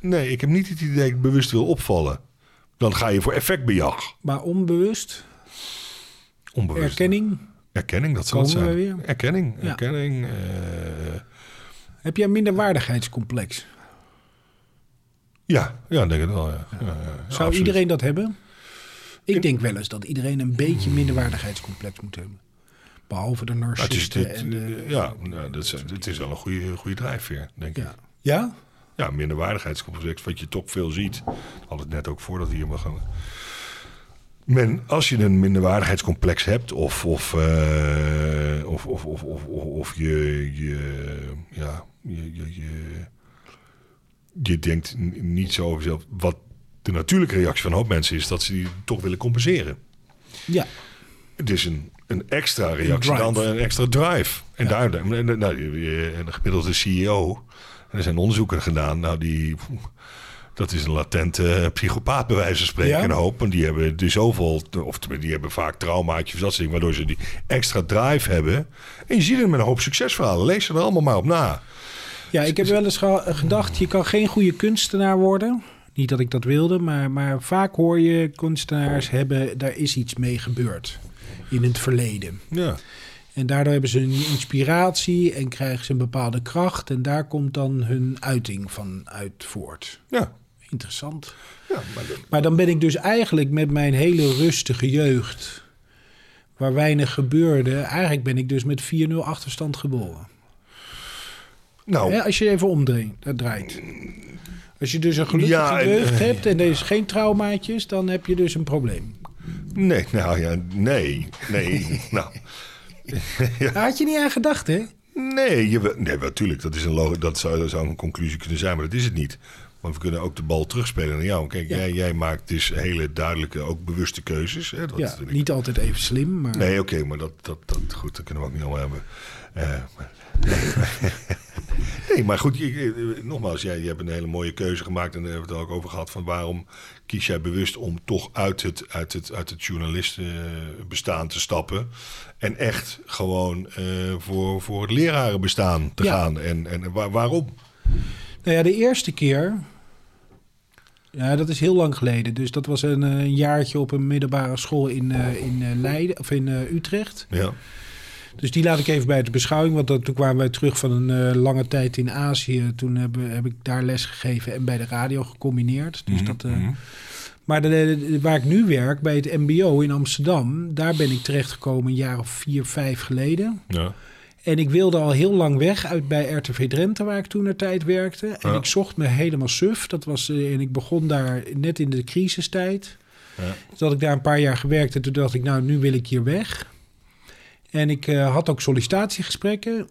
[SPEAKER 1] nee, ik heb niet het idee dat ik bewust wil opvallen. Dan ga je voor effectbejag.
[SPEAKER 2] Maar onbewust,
[SPEAKER 1] Onbewust.
[SPEAKER 2] erkenning.
[SPEAKER 1] Erkenning, dat zal
[SPEAKER 2] Komen
[SPEAKER 1] het zijn.
[SPEAKER 2] we weer?
[SPEAKER 1] Erkenning,
[SPEAKER 2] Ja.
[SPEAKER 1] erkenning. eh,
[SPEAKER 2] Heb jij een minderwaardigheidscomplex?
[SPEAKER 1] ja, ja, ik denk het wel. Ja. Ja, ja,
[SPEAKER 2] Zou
[SPEAKER 1] absoluut.
[SPEAKER 2] iedereen dat hebben? Ik denk wel eens dat iedereen een beetje minderwaardigheidscomplex moet hebben. Behalve de
[SPEAKER 1] Ja, het is,
[SPEAKER 2] narcisten
[SPEAKER 1] dit-
[SPEAKER 2] en de...
[SPEAKER 1] ja, nou, dat is, het is wel een goede, goede drijfveer, denk ik.
[SPEAKER 2] Ja. ja?
[SPEAKER 1] Ja, minderwaardigheidscomplex, wat je toch veel ziet. Had het net ook voordat we hier mag gaan. Men, als je een minderwaardigheidscomplex hebt, of, of, eh, of, of, of, of, of, of je, je, ja, je, je, je, je denkt n- niet zo over jezelf. Wat de natuurlijke reactie van een hoop mensen is, dat ze die toch willen compenseren.
[SPEAKER 2] Ja.
[SPEAKER 1] Het is een, een extra reactie,
[SPEAKER 2] drive.
[SPEAKER 1] een, andere- een extra drive. En daar, daar- nou, je- je- een gemiddelde CEO, en er zijn onderzoeken gedaan, nou die, dat is een latente eh, psychopaat bij wijze van spreken,
[SPEAKER 2] Ja?
[SPEAKER 1] een hoop. Want die hebben dus zoveel, of tenminste, die hebben vaak traumaatjes of dat soort dingen, waardoor ze die extra drive hebben. En je ziet het met een hoop succesverhalen, lees ze er allemaal maar op na.
[SPEAKER 2] Ja, ik heb wel eens ge- gedacht, je kan geen goede kunstenaar worden. Niet dat ik dat wilde, maar, maar vaak hoor je kunstenaars hebben, daar is iets mee gebeurd in het verleden.
[SPEAKER 1] Ja.
[SPEAKER 2] En daardoor hebben ze hun inspiratie en krijgen ze een bepaalde kracht. En daar komt dan hun uiting van uit voort.
[SPEAKER 1] Ja.
[SPEAKER 2] Interessant.
[SPEAKER 1] ja maar dat-
[SPEAKER 2] Maar dan ben ik dus eigenlijk met mijn hele rustige jeugd, waar weinig gebeurde, eigenlijk ben ik dus met 4-0 achterstand geboren.
[SPEAKER 1] nou,
[SPEAKER 2] Hè, als je even omdraait. Als je dus een gelukkige
[SPEAKER 1] Ja, en-
[SPEAKER 2] jeugd hebt en er is geen traumaatjes, dan heb je dus een probleem.
[SPEAKER 1] nee, nou ja, nee, nee, nou.
[SPEAKER 2] Daar had je niet aan gedacht, hè?
[SPEAKER 1] Nee, je, wil- nee natuurlijk. Dat, is een logo, dat, zou, dat zou een conclusie kunnen zijn, maar dat is het niet. Want we kunnen ook de bal terugspelen naar jou. Kijk,
[SPEAKER 2] Ja.
[SPEAKER 1] jij, jij maakt dus hele duidelijke, ook bewuste keuzes. Hè? Dat
[SPEAKER 2] Ja,
[SPEAKER 1] vind ik-
[SPEAKER 2] niet altijd even slim, maar
[SPEAKER 1] Nee, oké, maar dat, dat, dat, goed, dat kunnen we ook niet allemaal hebben. Eh, maar- Nee, maar goed, ik- ik- nogmaals, jij, je hebt een hele mooie keuze gemaakt. En daar hebben we het ook over gehad. Van waarom kies jij bewust om toch uit het, uit het, uit het journalistenbestaan te stappen. En echt gewoon eh, voor, voor het lerarenbestaan te
[SPEAKER 2] Ja.
[SPEAKER 1] gaan. En, en waar- waarom?
[SPEAKER 2] Nou ja, de eerste keer. Ja, dat is heel lang geleden. Dus dat was een, eh, een jaartje op een middelbare school in, eh, in eh, Leiden of in eh, Utrecht.
[SPEAKER 1] Ja.
[SPEAKER 2] Dus die laat ik even bij de beschouwing. Want dat, toen kwamen wij terug van een eh, lange tijd in Azië. Toen heb, heb ik daar les gegeven en bij de radio gecombineerd. Dus dat, eh,
[SPEAKER 1] Mhm.
[SPEAKER 2] Maar de, de- de- waar ik nu werk, bij het MBO in Amsterdam, daar ben ik terechtgekomen een jaar of vier, vijf geleden.
[SPEAKER 1] ja.
[SPEAKER 2] En ik wilde al heel lang weg uit bij RTV Drenthe, waar ik toen naar tijd werkte. En
[SPEAKER 1] Ja.
[SPEAKER 2] ik zocht me helemaal suf. Dat was, eh, en ik begon daar net in de crisistijd.
[SPEAKER 1] Ja.
[SPEAKER 2] Dus had ik daar een paar jaar gewerkt en toen dacht ik, nou, nu wil ik hier weg. En ik eh, had ook sollicitatiegesprekken.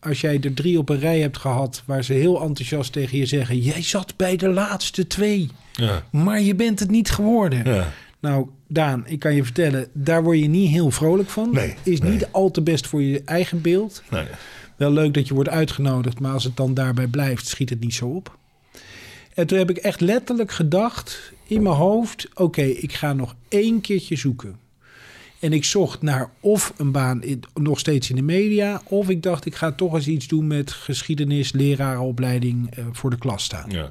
[SPEAKER 2] Als jij er drie op een rij hebt gehad waar ze heel enthousiast tegen je zeggen... jij zat bij de laatste twee,
[SPEAKER 1] Ja.
[SPEAKER 2] maar je bent het niet geworden.
[SPEAKER 1] Ja.
[SPEAKER 2] Nou, Daan, ik kan je vertellen, daar word je niet heel vrolijk van.
[SPEAKER 1] Nee,
[SPEAKER 2] Is
[SPEAKER 1] nee.
[SPEAKER 2] niet al te best voor je eigen beeld.
[SPEAKER 1] Nee.
[SPEAKER 2] Wel leuk dat je wordt uitgenodigd, maar als het dan daarbij blijft, schiet het niet zo op. En toen heb ik echt letterlijk gedacht in mijn hoofd: oké, ik ga nog één keertje zoeken. En ik zocht naar of een baan in, nog steeds in de media, of ik dacht ik ga toch eens iets doen met geschiedenis, lerarenopleiding eh, voor de klas staan.
[SPEAKER 1] Ja.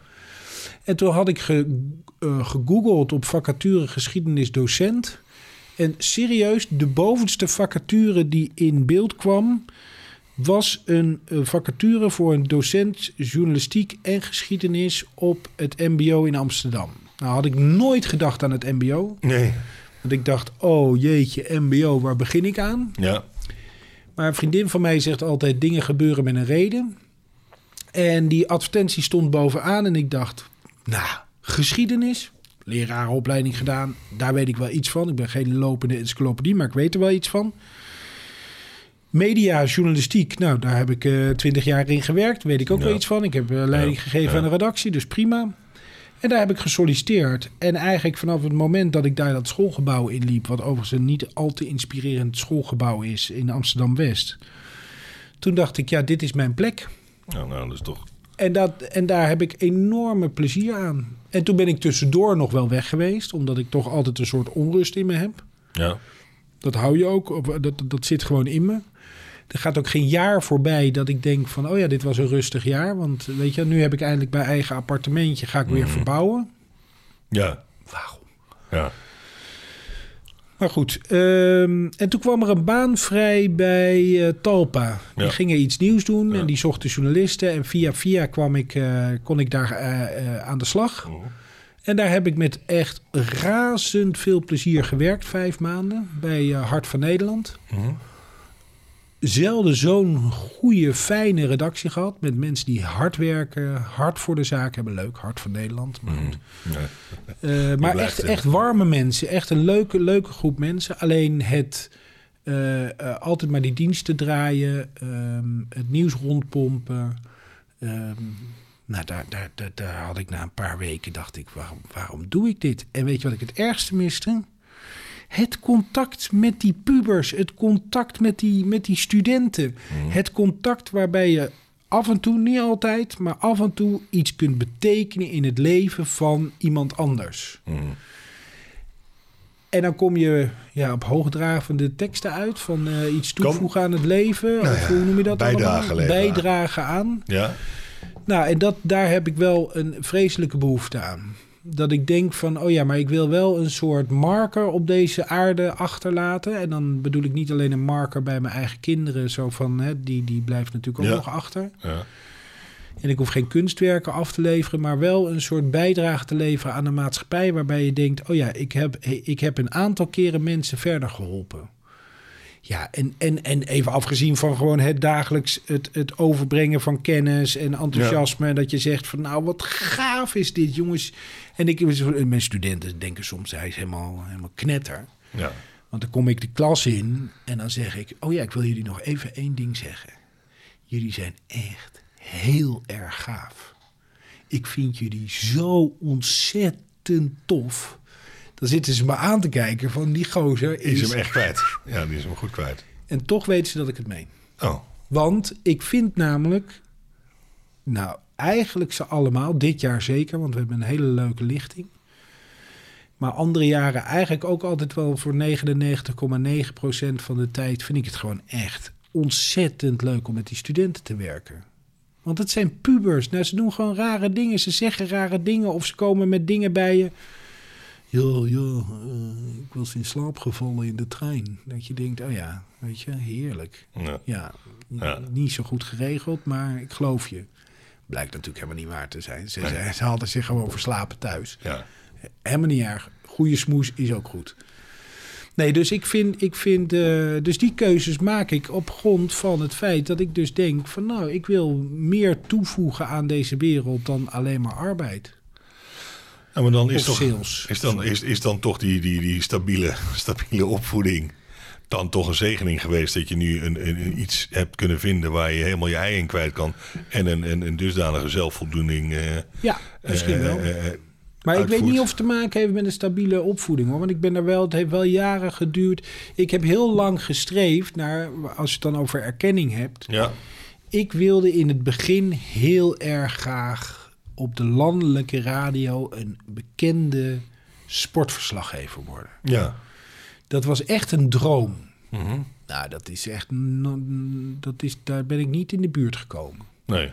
[SPEAKER 2] En toen had ik ge, eh, gegoogeld op vacature geschiedenis docent. En serieus, de bovenste vacature die in beeld kwam... was een eh, vacature voor een docent journalistiek en geschiedenis... op het mbo in Amsterdam. Nou had ik nooit gedacht aan het mbo.
[SPEAKER 1] Nee.
[SPEAKER 2] Want ik dacht, oh jeetje, mbo, waar begin ik aan?
[SPEAKER 1] Ja.
[SPEAKER 2] Maar een vriendin van mij zegt altijd: dingen gebeuren met een reden. En die advertentie stond bovenaan en ik dacht: nou, geschiedenis, lerarenopleiding gedaan, daar weet ik wel iets van. Ik ben geen lopende encyclopedie, maar ik weet er wel iets van. Media, journalistiek, nou daar heb ik twintig jaar in gewerkt, weet ik ook
[SPEAKER 1] Ja.
[SPEAKER 2] wel iets van. Ik heb eh, leiding
[SPEAKER 1] Ja,
[SPEAKER 2] gegeven
[SPEAKER 1] ja.
[SPEAKER 2] aan de redactie, dus prima. En daar heb ik gesolliciteerd. En eigenlijk vanaf het moment dat ik daar dat schoolgebouw inliep, wat overigens een niet al te inspirerend schoolgebouw is in Amsterdam West. Toen dacht ik, ja, dit is mijn plek.
[SPEAKER 1] Nou, nou, dat is toch...
[SPEAKER 2] En, dat, en daar heb ik enorme plezier aan. En toen ben ik tussendoor nog wel weg geweest, omdat ik toch altijd een soort onrust in me heb.
[SPEAKER 1] Ja.
[SPEAKER 2] Dat hou je ook, of, eh, dat, dat zit gewoon in me. Er gaat ook geen jaar voorbij dat ik denk van, oh ja, dit was een rustig jaar. Want weet je, nu heb ik eindelijk mijn eigen appartementje, ga ik
[SPEAKER 1] Mhm.
[SPEAKER 2] weer verbouwen.
[SPEAKER 1] Ja.
[SPEAKER 2] Waarom?
[SPEAKER 1] Ja.
[SPEAKER 2] Maar goed, ehm, en toen kwam er een baan vrij bij eh, Talpa. Die
[SPEAKER 1] Ja.
[SPEAKER 2] gingen iets nieuws doen
[SPEAKER 1] Ja.
[SPEAKER 2] en die zochten journalisten. En via via kwam ik, eh, kon ik daar eh, eh, aan de slag.
[SPEAKER 1] Mhm.
[SPEAKER 2] En daar heb ik met echt razend veel plezier gewerkt, vijf maanden, bij eh, Hart van Nederland.
[SPEAKER 1] Mhm.
[SPEAKER 2] Zelden zo'n goede, fijne redactie gehad. Met mensen die hard werken, hard voor de zaak hebben. Leuk, Hart van Nederland.
[SPEAKER 1] Hm?
[SPEAKER 2] Maar goed.
[SPEAKER 1] Ja.
[SPEAKER 2] Eh, maar
[SPEAKER 1] Mhm. blijft
[SPEAKER 2] echt,
[SPEAKER 1] het.
[SPEAKER 2] echt warme mensen. Echt een leuke, leuke groep mensen. Alleen het eh, eh, altijd maar die diensten draaien. ehm, het nieuws rondpompen. ehm, nou, daar, daar, daar, daar had ik na een paar weken dacht ik, waarom, waarom doe ik dit? En weet je wat ik het ergste miste? Het contact met die pubers, het contact met die, met die studenten.
[SPEAKER 1] Mhm.
[SPEAKER 2] Het contact waarbij je af en toe, niet altijd, maar af en toe iets kunt betekenen in het leven van iemand anders.
[SPEAKER 1] Mhm.
[SPEAKER 2] En dan kom je ja, op hoogdravende teksten uit van eh, iets toevoegen aan het leven. of hoe noem je dat
[SPEAKER 1] Nou bijdrage
[SPEAKER 2] allemaal?
[SPEAKER 1] leveren.
[SPEAKER 2] Bijdrage aan.
[SPEAKER 1] Ja.
[SPEAKER 2] Nou, en dat, daar heb ik wel een vreselijke behoefte aan. Dat ik denk van, oh ja, maar ik wil wel een soort marker op deze aarde achterlaten. En dan bedoel ik niet alleen een marker bij mijn eigen kinderen. Zo van, hè, die, die blijft natuurlijk ook
[SPEAKER 1] Ja.
[SPEAKER 2] nog achter.
[SPEAKER 1] Ja.
[SPEAKER 2] En ik hoef geen kunstwerken af te leveren, maar wel een soort bijdrage te leveren aan de maatschappij. Waarbij je denkt: oh ja, ik heb, ik heb een aantal keren mensen verder geholpen. Ja, en, en, en even afgezien van gewoon het dagelijks het, het overbrengen van kennis en enthousiasme. Dat je zegt van nou, wat gaaf is dit, jongens. En ik, mijn studenten denken soms, hij is helemaal, helemaal knetter.
[SPEAKER 1] Ja.
[SPEAKER 2] Want dan kom ik de klas in en dan zeg ik: Oh ja, ik wil jullie nog even één ding zeggen. Jullie zijn echt heel erg gaaf. Ik vind jullie zo ontzettend tof. Dan zitten ze me aan te kijken van die gozer
[SPEAKER 1] Die
[SPEAKER 2] is...
[SPEAKER 1] is hem echt kwijt. Ja, die is hem goed kwijt.
[SPEAKER 2] En toch weten ze dat ik het meen.
[SPEAKER 1] Oh.
[SPEAKER 2] Want ik vind namelijk Nou, eigenlijk ze allemaal. Dit jaar zeker, want we hebben een hele leuke lichting. Maar andere jaren eigenlijk ook altijd wel voor 99,9% van de tijd vind ik het gewoon echt ontzettend leuk om met die studenten te werken. Want het zijn pubers. Nou, ze doen gewoon rare dingen. Ze zeggen rare dingen of ze komen met dingen bij je. Joh, joh, eh, ik was in slaap gevallen in de trein. Dat je denkt, oh ja, weet je, heerlijk.
[SPEAKER 1] Ja.
[SPEAKER 2] Ja, n-
[SPEAKER 1] Ja.
[SPEAKER 2] niet zo goed geregeld, maar ik geloof je. Blijkt natuurlijk helemaal niet waar te zijn. Ze, ze, ze hadden zich gewoon verslapen thuis.
[SPEAKER 1] Ja.
[SPEAKER 2] Helemaal niet erg. Goede smoes is ook goed. Nee, dus ik vind, ik vind eh, dus die keuzes maak ik op grond van het feit dat ik dus denk van nou, ik wil meer toevoegen aan deze wereld dan alleen maar arbeid.
[SPEAKER 1] Ja, Nou, maar dan
[SPEAKER 2] Of
[SPEAKER 1] is, toch,
[SPEAKER 2] sales.
[SPEAKER 1] is, dan, is, is dan toch die, die, die stabiele, stabiele opvoeding dan toch een zegening geweest dat je nu een, een, een iets hebt kunnen vinden waar je helemaal je ei in kwijt kan en een, een, een dusdanige zelfvoldoening. eh,
[SPEAKER 2] Ja, misschien
[SPEAKER 1] eh,
[SPEAKER 2] wel.
[SPEAKER 1] eh, eh,
[SPEAKER 2] Maar ik weet
[SPEAKER 1] uitvoert.
[SPEAKER 2] niet of het te maken heeft met een stabiele opvoeding hoor. Want ik ben er wel, het heeft wel jaren geduurd. Ik heb heel lang gestreefd naar, als je het dan over erkenning hebt.
[SPEAKER 1] ja.
[SPEAKER 2] Ik wilde in het begin heel erg graag op de landelijke radio een bekende sportverslaggever worden.
[SPEAKER 1] Ja.
[SPEAKER 2] Dat was echt een droom.
[SPEAKER 1] Mhm.
[SPEAKER 2] Nou, dat is echt. n- Dat is, daar ben ik niet in de buurt gekomen.
[SPEAKER 1] Nee.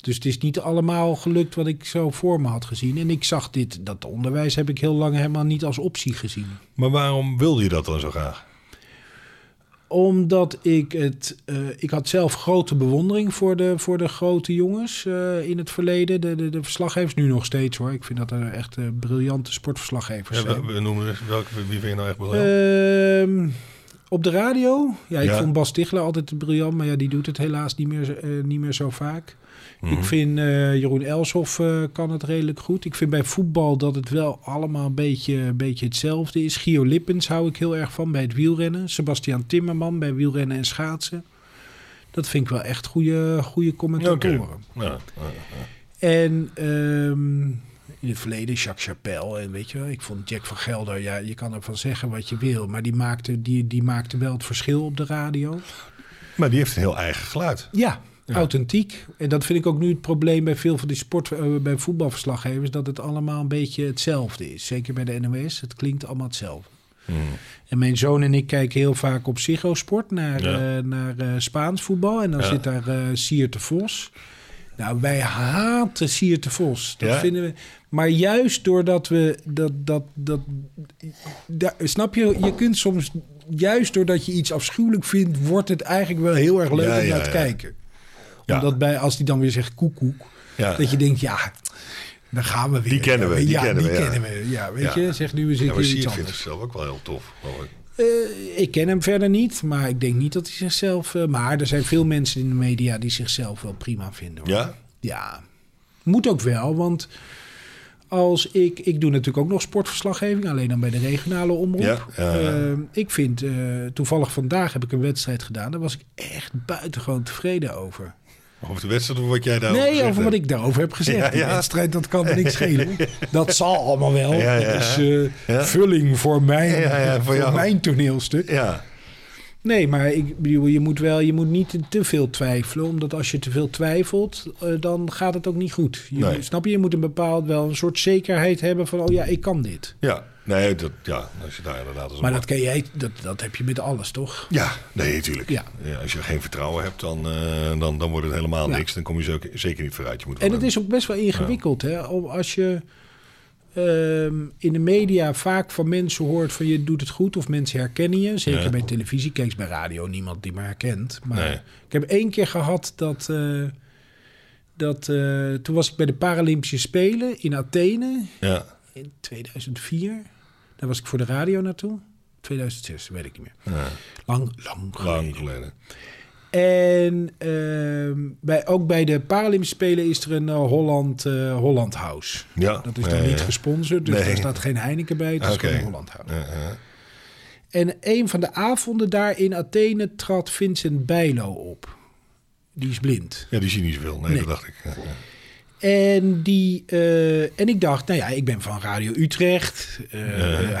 [SPEAKER 2] Dus het is niet allemaal gelukt wat ik zo voor me had gezien. En ik zag dit, dat onderwijs heb ik heel lang helemaal niet als optie gezien.
[SPEAKER 1] Maar waarom wilde je dat dan zo graag?
[SPEAKER 2] Omdat ik het. eh, ik had zelf grote bewondering voor de, voor de grote jongens eh, in het verleden. De, de, de verslaggevers nu nog steeds hoor. Ik vind dat er echt eh, briljante sportverslaggevers
[SPEAKER 1] Ja,
[SPEAKER 2] zijn.
[SPEAKER 1] we, we noemen dus welke, wie vind je nou echt belangrijk?
[SPEAKER 2] Ehm, op de radio. Ja, ik
[SPEAKER 1] Ja.
[SPEAKER 2] vond Bas Tichler altijd briljant. Maar ja, die doet het helaas niet meer, zo- eh, niet meer zo vaak.
[SPEAKER 1] Mhm.
[SPEAKER 2] Ik vind eh, Jeroen Elshoff eh, kan het redelijk goed. Ik vind bij voetbal dat het wel allemaal een beetje, een beetje hetzelfde is. Gio Lippens hou ik heel erg van bij het wielrennen. Sebastian Timmerman bij wielrennen en schaatsen. Dat vind ik wel echt goede, goede commentatoren.
[SPEAKER 1] Ja, ja.
[SPEAKER 2] En ehm, in het verleden Jacques Chapelle. En weet je wel, ik vond Jack van Gelder. Ja, je kan ervan zeggen wat je wil. Maar die maakte, die, die maakte wel het verschil op de radio.
[SPEAKER 1] Maar die heeft een heel eigen geluid.
[SPEAKER 2] Ja, authentiek. En dat vind ik ook nu het probleem bij veel van die sport, eh, bij voetbalverslaggevers. Dat het allemaal een beetje hetzelfde is. Zeker bij de NOS. Het klinkt allemaal hetzelfde. En mijn zoon en ik kijken heel vaak op Ziggo Sport naar,
[SPEAKER 1] Ja.
[SPEAKER 2] eh, naar eh, Spaans voetbal. En dan
[SPEAKER 1] Ja.
[SPEAKER 2] zit daar eh Siert de Vos. Nou, wij haten Siert de Vos. Dat
[SPEAKER 1] Ja?
[SPEAKER 2] vinden we. Maar juist doordat we dat, dat, dat, daar- snap je, je kunt soms, juist doordat je iets afschuwelijk vindt, wordt het eigenlijk wel heel erg leuk
[SPEAKER 1] Ja,
[SPEAKER 2] om
[SPEAKER 1] ja,
[SPEAKER 2] naar te
[SPEAKER 1] ja.
[SPEAKER 2] kijken.
[SPEAKER 1] Ja.
[SPEAKER 2] Omdat bij, als die dan weer zegt koekoek,
[SPEAKER 1] Ja.
[SPEAKER 2] dat je denkt, ja, dan gaan we weer.
[SPEAKER 1] Die kennen we, die
[SPEAKER 2] ja,
[SPEAKER 1] kennen we,
[SPEAKER 2] die
[SPEAKER 1] ja.
[SPEAKER 2] kennen we. Ja, weet
[SPEAKER 1] Ja.
[SPEAKER 2] je, zeg nu, we
[SPEAKER 1] ja,
[SPEAKER 2] zitten
[SPEAKER 1] maar
[SPEAKER 2] hier iets
[SPEAKER 1] Sier vindt
[SPEAKER 2] anders.
[SPEAKER 1] zichzelf ook wel heel tof. hoor ik.
[SPEAKER 2] Eh, ik ken hem verder niet, maar ik denk niet dat hij zichzelf... eh, maar er zijn veel mensen in de media die zichzelf wel prima vinden. hoor.
[SPEAKER 1] Ja?
[SPEAKER 2] Ja, moet ook wel, want als ik... Ik doe natuurlijk ook nog sportverslaggeving, alleen dan bij de regionale omroep.
[SPEAKER 1] Ja, ja, ja.
[SPEAKER 2] Eh, ik vind, eh, toevallig vandaag heb ik een wedstrijd gedaan, daar was ik echt buitengewoon tevreden over.
[SPEAKER 1] Over de wedstrijd of wat jij daar
[SPEAKER 2] nee, over wat
[SPEAKER 1] hebt?
[SPEAKER 2] ik daarover heb gezegd.
[SPEAKER 1] Oh, Ja,
[SPEAKER 2] Die
[SPEAKER 1] ja.
[SPEAKER 2] wedstrijd, dat kan niks schelen. Dat zal allemaal wel.
[SPEAKER 1] Ja, ja,
[SPEAKER 2] Dat is
[SPEAKER 1] ja.
[SPEAKER 2] eh,
[SPEAKER 1] Ja.
[SPEAKER 2] vulling voor mijn,
[SPEAKER 1] Ja, ja, voor
[SPEAKER 2] voor
[SPEAKER 1] jou.
[SPEAKER 2] mijn toneelstuk.
[SPEAKER 1] Ja.
[SPEAKER 2] Nee, maar ik bedoel, je moet wel, je moet niet te veel twijfelen. Omdat als je te veel twijfelt, eh, dan gaat het ook niet goed. Je,
[SPEAKER 1] Nee.
[SPEAKER 2] Snap je? Je moet een bepaald wel een soort zekerheid hebben van, oh ja, ik kan dit.
[SPEAKER 1] Ja, nee, dat, ja, als je daar inderdaad... als een-
[SPEAKER 2] Maar dat ken jij, dat, dat heb je met alles, toch?
[SPEAKER 1] Ja, nee, natuurlijk.
[SPEAKER 2] Ja.
[SPEAKER 1] Ja. als je geen vertrouwen hebt, dan, eh, dan, dan wordt het helemaal
[SPEAKER 2] Ja.
[SPEAKER 1] niks. Dan kom je zo- zeker niet vooruit. Je moet wel
[SPEAKER 2] En het
[SPEAKER 1] een-
[SPEAKER 2] is ook best wel ingewikkeld, hè? om- Als je ehm, in de media vaak van mensen hoort van je doet het goed of mensen herkennen je. Zeker
[SPEAKER 1] Ja.
[SPEAKER 2] bij televisie, kijkt bij radio niemand die me herkent. Maar
[SPEAKER 1] Nee.
[SPEAKER 2] ik heb één keer gehad dat. eh, dat eh, toen was ik bij de Paralympische Spelen in Athene
[SPEAKER 1] Ja,
[SPEAKER 2] in 2004. Daar was ik voor de radio naartoe. 2006, weet ik niet meer.
[SPEAKER 1] ja,
[SPEAKER 2] Lang, lang geleden.
[SPEAKER 1] lang geleden.
[SPEAKER 2] En ehm, bij, ook bij de Paralympische Spelen is er een eh, Holland, eh, Holland House.
[SPEAKER 1] Ja.
[SPEAKER 2] Dat is
[SPEAKER 1] ja,
[SPEAKER 2] dan
[SPEAKER 1] ja,
[SPEAKER 2] niet
[SPEAKER 1] ja.
[SPEAKER 2] gesponsord, dus
[SPEAKER 1] Nee.
[SPEAKER 2] daar staat geen Heineken bij. Het is
[SPEAKER 1] Oké.
[SPEAKER 2] gewoon een Holland House.
[SPEAKER 1] Ja, ja.
[SPEAKER 2] En een van de avonden daar in Athene trad Vincent Bijlo op. Die is blind.
[SPEAKER 1] Ja, die zie je niet zoveel. Nee,
[SPEAKER 2] Nee.
[SPEAKER 1] dat dacht ik. Ja, ja.
[SPEAKER 2] En, die, eh, en ik dacht, nou ja, ik ben van Radio Utrecht. Eh,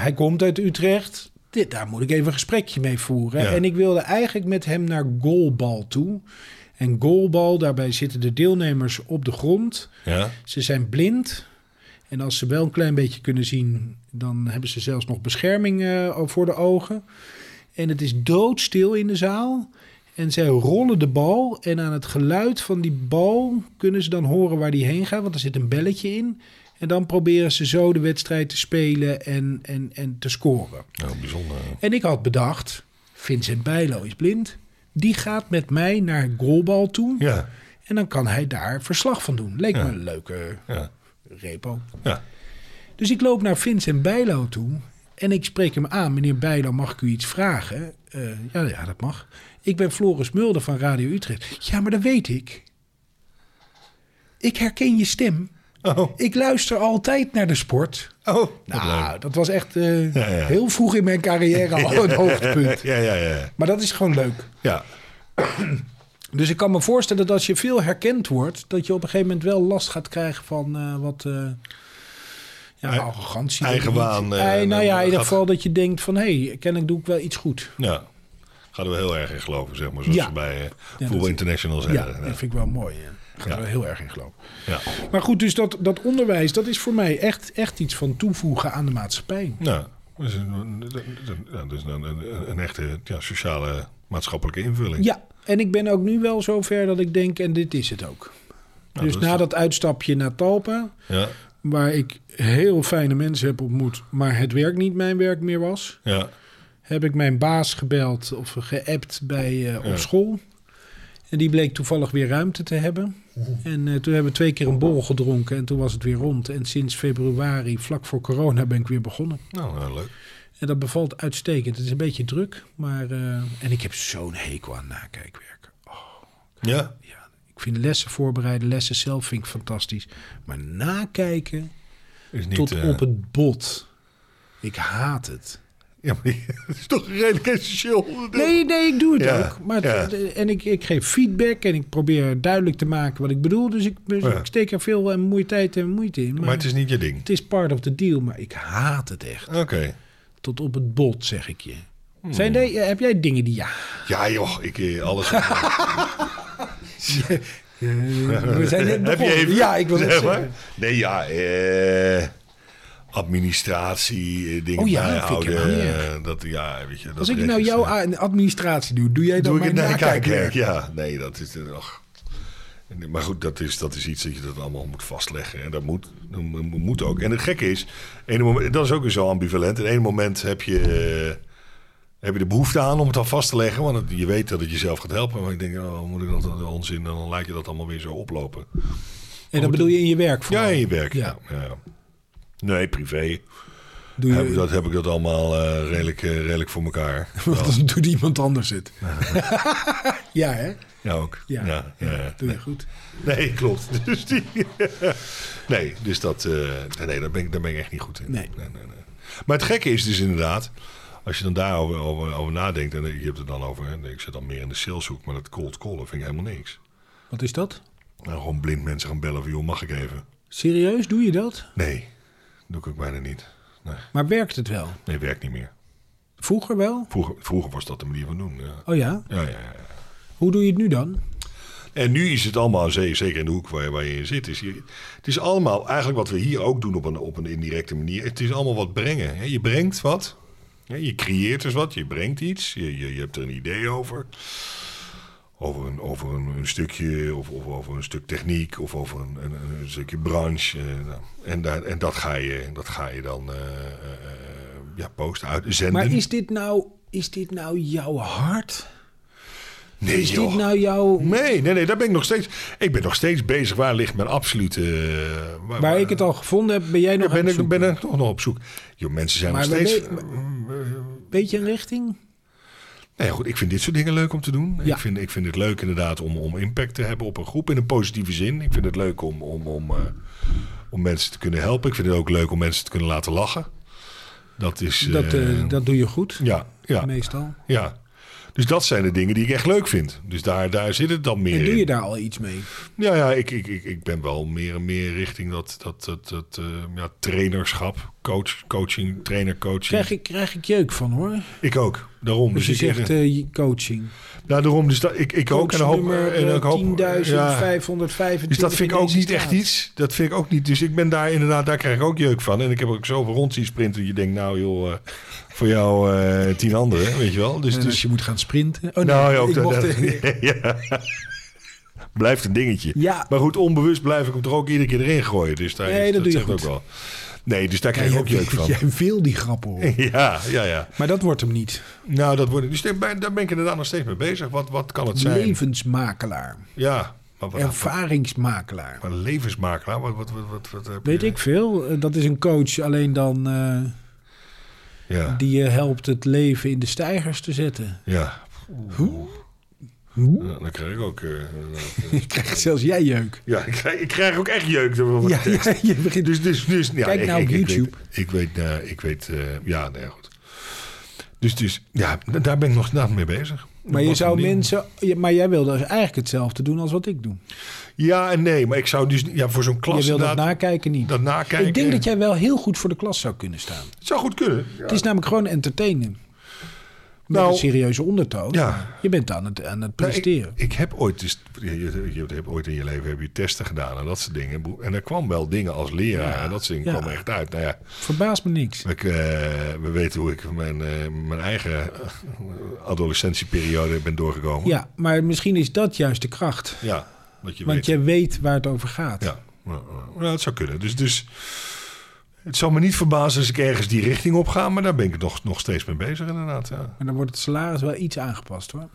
[SPEAKER 2] Hij komt uit Utrecht. Dit, daar moet ik even een gesprekje mee voeren.
[SPEAKER 1] Ja.
[SPEAKER 2] En ik wilde eigenlijk met hem naar goalbal toe. En goalbal, daarbij zitten de deelnemers op de grond.
[SPEAKER 1] Ja.
[SPEAKER 2] Ze zijn blind. En als ze wel een klein beetje kunnen zien, dan hebben ze zelfs nog bescherming eh, voor de ogen. En het is doodstil in de zaal. En zij rollen de bal. En aan het geluid van die bal kunnen ze dan horen waar die heen gaat. Want er zit een belletje in. En dan proberen ze zo de wedstrijd te spelen en, en, en te scoren.
[SPEAKER 1] Nou, bijzonder.
[SPEAKER 2] En ik had bedacht, Vincent Bijlo is blind. Die gaat met mij naar goalbal toe.
[SPEAKER 1] Ja,
[SPEAKER 2] En dan kan hij daar verslag van doen. Leek
[SPEAKER 1] Ja.
[SPEAKER 2] me een leuke
[SPEAKER 1] ja,
[SPEAKER 2] repo.
[SPEAKER 1] ja.
[SPEAKER 2] Dus ik loop naar Vincent Bijlo toe en ik spreek hem aan. Meneer Bijlo, mag ik u iets vragen? Eh, ja, ja, dat mag. Ik ben Floris Mulder van Radio Utrecht. Ja, maar dat weet ik. Ik herken je stem.
[SPEAKER 1] Oh,
[SPEAKER 2] Ik luister altijd naar de sport.
[SPEAKER 1] oh. wat
[SPEAKER 2] Nou, dat was echt eh,
[SPEAKER 1] Ja, ja.
[SPEAKER 2] heel vroeg in mijn carrière al het
[SPEAKER 1] leuk.
[SPEAKER 2] hoogtepunt.
[SPEAKER 1] Ja, ja, ja.
[SPEAKER 2] Maar dat is gewoon leuk.
[SPEAKER 1] Ja,
[SPEAKER 2] Dus ik kan me voorstellen dat als je veel herkend wordt, dat je op een gegeven moment wel last gaat krijgen van eh, wat. eh, ja,
[SPEAKER 1] Ei-
[SPEAKER 2] arrogantie.
[SPEAKER 1] eigenwaan,
[SPEAKER 2] weet ik niet.
[SPEAKER 1] eh,
[SPEAKER 2] Ei- nou
[SPEAKER 1] en-
[SPEAKER 2] ja,
[SPEAKER 1] en
[SPEAKER 2] in ieder
[SPEAKER 1] gaat-
[SPEAKER 2] geval dat je denkt van... hé, hey, kennelijk doe ik wel iets goed.
[SPEAKER 1] ja. Gaan we heel erg in geloven, zeg maar. Zoals
[SPEAKER 2] Ja.
[SPEAKER 1] ze bij eh,
[SPEAKER 2] Ja,
[SPEAKER 1] Voetbal
[SPEAKER 2] dat-
[SPEAKER 1] International
[SPEAKER 2] Ja,
[SPEAKER 1] zeggen.
[SPEAKER 2] dat vind ik wel mooi. hè. Daar
[SPEAKER 1] Ja.
[SPEAKER 2] gaan we heel erg in geloven.
[SPEAKER 1] ja.
[SPEAKER 2] Maar goed, dus dat, dat onderwijs, dat is voor mij echt, echt iets van toevoegen aan de maatschappij.
[SPEAKER 1] Nou, dat is een, dat is een- ja, dat is een, een, een echte ja, sociale maatschappelijke invulling.
[SPEAKER 2] Ja, en ik ben ook nu wel zover dat ik denk, en dit is het ook.
[SPEAKER 1] Nou,
[SPEAKER 2] dus
[SPEAKER 1] dat is
[SPEAKER 2] na
[SPEAKER 1] toch-
[SPEAKER 2] dat uitstapje naar Talpa,
[SPEAKER 1] Ja,
[SPEAKER 2] waar ik heel fijne mensen heb ontmoet... maar het werk niet mijn werk meer was...
[SPEAKER 1] ja,
[SPEAKER 2] heb ik mijn baas gebeld of geappt bij, eh, op
[SPEAKER 1] Ja.
[SPEAKER 2] school. En die bleek toevallig weer ruimte te hebben. En eh, toen hebben we twee keer een borrel gedronken en toen was het weer rond. En sinds februari, vlak voor corona, ben ik weer begonnen.
[SPEAKER 1] nou, nou, leuk.
[SPEAKER 2] En dat bevalt uitstekend. Het is een beetje druk, maar... eh, en ik heb zo'n hekel aan nakijkwerk.
[SPEAKER 1] Ja,
[SPEAKER 2] Ja, ik vind lessen voorbereiden, lessen zelf vind ik fantastisch. Maar nakijken
[SPEAKER 1] is niet...
[SPEAKER 2] tot
[SPEAKER 1] eh,
[SPEAKER 2] op het bot. Ik haat het.
[SPEAKER 1] Ja, maar die- dat is toch redelijk essentieel onderdeel?
[SPEAKER 2] Nee, nee, ik doe het
[SPEAKER 1] Ja,
[SPEAKER 2] ook. Maar het-
[SPEAKER 1] ja.
[SPEAKER 2] de- en ik, ik geef feedback en ik probeer duidelijk te maken wat ik bedoel. Dus ik, dus
[SPEAKER 1] Ja.
[SPEAKER 2] ik steek er veel en moeite tijd en moeite in. Maar,
[SPEAKER 1] Maar het is niet je ding.
[SPEAKER 2] het is part of the deal, maar ik haat het echt.
[SPEAKER 1] Oké.
[SPEAKER 2] Tot op het bot, zeg ik je. Zijn jij- heb jij dingen die ja?
[SPEAKER 1] Ja, joh, ik eh, alles.
[SPEAKER 2] We zijn net
[SPEAKER 1] Heb je
[SPEAKER 2] begonnen.
[SPEAKER 1] even?
[SPEAKER 2] Ja, ik wil het
[SPEAKER 1] zeg maar.
[SPEAKER 2] zeggen.
[SPEAKER 1] Nee, ja, eh, administratie, eh, dingen
[SPEAKER 2] Oh ja, vind ik
[SPEAKER 1] bijhouden.
[SPEAKER 2] helemaal niet erg.
[SPEAKER 1] eh, dat, ja, weet je, dat
[SPEAKER 2] Als ik nou jouw
[SPEAKER 1] regels, eh,
[SPEAKER 2] a- administratie doe, doe jij dan
[SPEAKER 1] doe ik
[SPEAKER 2] mijn
[SPEAKER 1] het naar
[SPEAKER 2] nakijkwerk?
[SPEAKER 1] Ja, nee, dat is eh, ach. En- Maar goed, dat is, dat is iets dat je dat allemaal moet vastleggen. En dat moet, dat mo- moet ook. En het gekke is, ene moment, dat is ook weer zo ambivalent. In één moment heb je, eh, heb je de behoefte aan om het dan vast te leggen. Want het- je weet dat het jezelf gaat helpen. Maar ik denk, oh, moet ik dat dat onzin? En dan laat je dat allemaal weer zo oplopen.
[SPEAKER 2] En dat bedoel je in je werk?
[SPEAKER 1] Ja,
[SPEAKER 2] vooral?
[SPEAKER 1] in je werk.
[SPEAKER 2] Ja.
[SPEAKER 1] Ja. Eh, Ja. Nee, privé.
[SPEAKER 2] Doe
[SPEAKER 1] Heb, ik
[SPEAKER 2] je,
[SPEAKER 1] dat, heb ik dat allemaal eh, redelijk, eh, redelijk voor elkaar.
[SPEAKER 2] want dan doet iemand anders het. ja, hè?
[SPEAKER 1] Ja, ook.
[SPEAKER 2] Ja.
[SPEAKER 1] Ja. Ja, ja.
[SPEAKER 2] Doe je goed.
[SPEAKER 1] Nee, klopt. Dus die, nee, dus dat, eh, nee, daar, ben ik, daar ben ik echt niet goed in.
[SPEAKER 2] Nee.
[SPEAKER 1] Nee, nee, nee. Maar het gekke is dus inderdaad, als je dan daarover over, over nadenkt, en je hebt het dan over, hè, ik zit dan meer in de saleshoek, maar dat cold callen vind ik helemaal niks.
[SPEAKER 2] Wat is dat?
[SPEAKER 1] Nou, gewoon blind mensen gaan bellen van, joh, mag ik even?
[SPEAKER 2] Serieus, doe je dat?
[SPEAKER 1] Nee, doe ik ook bijna niet. Nee,
[SPEAKER 2] Maar werkt het wel?
[SPEAKER 1] nee werkt niet meer.
[SPEAKER 2] Vroeger wel?
[SPEAKER 1] Vroeger, vroeger was dat de manier van doen. Ja.
[SPEAKER 2] Oh ja?
[SPEAKER 1] Ja, ja, ja.
[SPEAKER 2] Hoe doe je het nu dan?
[SPEAKER 1] En nu is het allemaal, ze- zeker in de hoek waar, waar je in zit, is hier, het is allemaal eigenlijk wat we hier ook doen op een, op een indirecte manier. Het is allemaal wat brengen. Hè? Je brengt wat. Hè? Je creëert dus wat. Je brengt iets. Je, je, je hebt er een idee over. Over een, over een, een stukje, of, of over een stuk techniek, of over een, een, een stukje branche. eh, nou. en daar- en dat, ga je, dat ga je dan eh, eh, ja, posten, uitzenden.
[SPEAKER 2] Maar is dit nou, is dit nou jouw hart?
[SPEAKER 1] nee,
[SPEAKER 2] is
[SPEAKER 1] joh.
[SPEAKER 2] dit nou jouw...
[SPEAKER 1] Nee, nee, nee, daar ben ik nog steeds. Ik ben nog steeds bezig. Waar ligt mijn absolute. eh, waar,
[SPEAKER 2] Waar ik het al gevonden heb, ben jij
[SPEAKER 1] Ja,
[SPEAKER 2] nog aan
[SPEAKER 1] ben
[SPEAKER 2] het
[SPEAKER 1] ik,
[SPEAKER 2] zoeken?
[SPEAKER 1] ben ik toch nog op zoek. Joh, mensen zijn
[SPEAKER 2] Maar
[SPEAKER 1] nog steeds.
[SPEAKER 2] we- Beetje een richting?
[SPEAKER 1] Nee, goed, ik vind dit soort dingen leuk om te doen.
[SPEAKER 2] Ja.
[SPEAKER 1] Ik, vind, ik vind het leuk inderdaad om, om impact te hebben op een groep in een positieve zin. Ik vind het leuk om, om, om, eh, om mensen te kunnen helpen. Ik vind het ook leuk om mensen te kunnen laten lachen. Dat is.
[SPEAKER 2] Dat, eh,
[SPEAKER 1] eh,
[SPEAKER 2] dat doe je goed,
[SPEAKER 1] ja, ja,
[SPEAKER 2] meestal.
[SPEAKER 1] ja. Dus dat zijn de dingen die ik echt leuk vind. Dus daar, daar zit het dan meer
[SPEAKER 2] En
[SPEAKER 1] in.
[SPEAKER 2] doe je daar al iets mee?
[SPEAKER 1] Ja, ja ik, ik, ik, ik ben wel meer en meer richting dat, dat, dat, dat eh, ja, trainerschap. coach, coaching, trainer, coaching.
[SPEAKER 2] Krijg ik, krijg ik jeuk van hoor.
[SPEAKER 1] Ik ook, daarom.
[SPEAKER 2] Dus je
[SPEAKER 1] ik,
[SPEAKER 2] zegt eh, coaching. eh,
[SPEAKER 1] nou, daarom, dus dat, ik, ik ook. En hoop,
[SPEAKER 2] Nummer
[SPEAKER 1] en ik hoop, ja.
[SPEAKER 2] 10.525.
[SPEAKER 1] Dus dat vind ik
[SPEAKER 2] in
[SPEAKER 1] ook
[SPEAKER 2] deze
[SPEAKER 1] niet echt
[SPEAKER 2] staat.
[SPEAKER 1] iets. Dat vind ik ook niet. Dus ik ben daar inderdaad, daar krijg ik ook jeuk van. En ik heb ook zoveel rond zien sprinten. Je denkt, nou joh, eh, voor jou eh, tien anderen, weet je wel. Dus,
[SPEAKER 2] En als
[SPEAKER 1] dus
[SPEAKER 2] je moet gaan sprinten. Oh, nee,
[SPEAKER 1] nou ja, ook
[SPEAKER 2] ik
[SPEAKER 1] dat-
[SPEAKER 2] mocht-
[SPEAKER 1] dat- ja. Blijft een dingetje.
[SPEAKER 2] Ja,
[SPEAKER 1] Maar goed, onbewust blijf ik hem er ook iedere keer erin gooien. Dus daar
[SPEAKER 2] Nee,
[SPEAKER 1] is-
[SPEAKER 2] dat doe je
[SPEAKER 1] zegt
[SPEAKER 2] goed.
[SPEAKER 1] ook wel. Nee, dus daar
[SPEAKER 2] Ja,
[SPEAKER 1] krijg ik
[SPEAKER 2] jij-
[SPEAKER 1] ook jeuk van.
[SPEAKER 2] Jij wil die grappen horen.
[SPEAKER 1] Ja, ja, ja.
[SPEAKER 2] Maar dat wordt hem niet.
[SPEAKER 1] Nou, dat wordt, dus daar ben daar ben ik inderdaad nog steeds mee bezig. Wat, wat kan het zijn?
[SPEAKER 2] Levensmakelaar.
[SPEAKER 1] Ja, maar wat,
[SPEAKER 2] Ervaringsmakelaar.
[SPEAKER 1] maar levensmakelaar? Wat, wat, wat, wat, wat heb
[SPEAKER 2] Weet
[SPEAKER 1] je-
[SPEAKER 2] ik veel. Eh, Dat is een coach alleen dan eh,
[SPEAKER 1] Ja,
[SPEAKER 2] die je helpt het leven in de stijgers te zetten.
[SPEAKER 1] ja.
[SPEAKER 2] Hoe? Hoe?
[SPEAKER 1] Ja, dan krijg ik ook... eh,
[SPEAKER 2] Je krijgt zelfs jij jeuk.
[SPEAKER 1] ja, ik krijg, ik krijg ook echt jeuk. ervan.
[SPEAKER 2] Ja, ja, je begint
[SPEAKER 1] Dus, dus, dus, ja,
[SPEAKER 2] Kijk
[SPEAKER 1] ik,
[SPEAKER 2] nou
[SPEAKER 1] ik,
[SPEAKER 2] op
[SPEAKER 1] ik
[SPEAKER 2] YouTube.
[SPEAKER 1] Weet, ik weet, eh, ik weet eh, ja, nee, goed. Dus, dus ja, d- daar ben ik nog inderdaad mee bezig.
[SPEAKER 2] Maar je
[SPEAKER 1] Wat
[SPEAKER 2] zou
[SPEAKER 1] een ding.
[SPEAKER 2] mensen, je- maar jij wilde dus eigenlijk hetzelfde doen als wat ik doe.
[SPEAKER 1] Ja en nee, maar ik zou dus... Ja, voor zo'n klas
[SPEAKER 2] je wil dat
[SPEAKER 1] inderdaad
[SPEAKER 2] nakijken niet.
[SPEAKER 1] dat nakijken.
[SPEAKER 2] ik denk dat jij wel heel goed voor de klas zou kunnen staan.
[SPEAKER 1] Het zou goed kunnen. Nou, Ja.
[SPEAKER 2] Het is namelijk gewoon entertainen. Met
[SPEAKER 1] Nou,
[SPEAKER 2] een serieuze ondertoon.
[SPEAKER 1] ja.
[SPEAKER 2] Je bent aan het, aan het
[SPEAKER 1] Nou, ik-
[SPEAKER 2] presteren.
[SPEAKER 1] ik, heb ooit, dus, je, je- je hebt ooit in je leven heb je testen gedaan en dat soort dingen. Boe- En er kwam wel dingen als leraar en dat soort dingen
[SPEAKER 2] ja.
[SPEAKER 1] kwamen echt uit. Nou ja,
[SPEAKER 2] Verbaast me niks.
[SPEAKER 1] ik, eh, we weten hoe ik mijn, eh, mijn eigen eh, adolescentieperiode ben doorgekomen.
[SPEAKER 2] Ja, maar misschien is dat juist de kracht.
[SPEAKER 1] Ja, dat je
[SPEAKER 2] Want
[SPEAKER 1] weet.
[SPEAKER 2] je weet waar het over gaat.
[SPEAKER 1] Ja, nou, nou, dat zou kunnen. Dus, dus het zal me niet verbazen als ik ergens die richting op ga, maar daar ben ik nog, nog steeds mee bezig inderdaad. Ja,
[SPEAKER 2] Maar dan wordt het salaris wel iets aangepast hoor.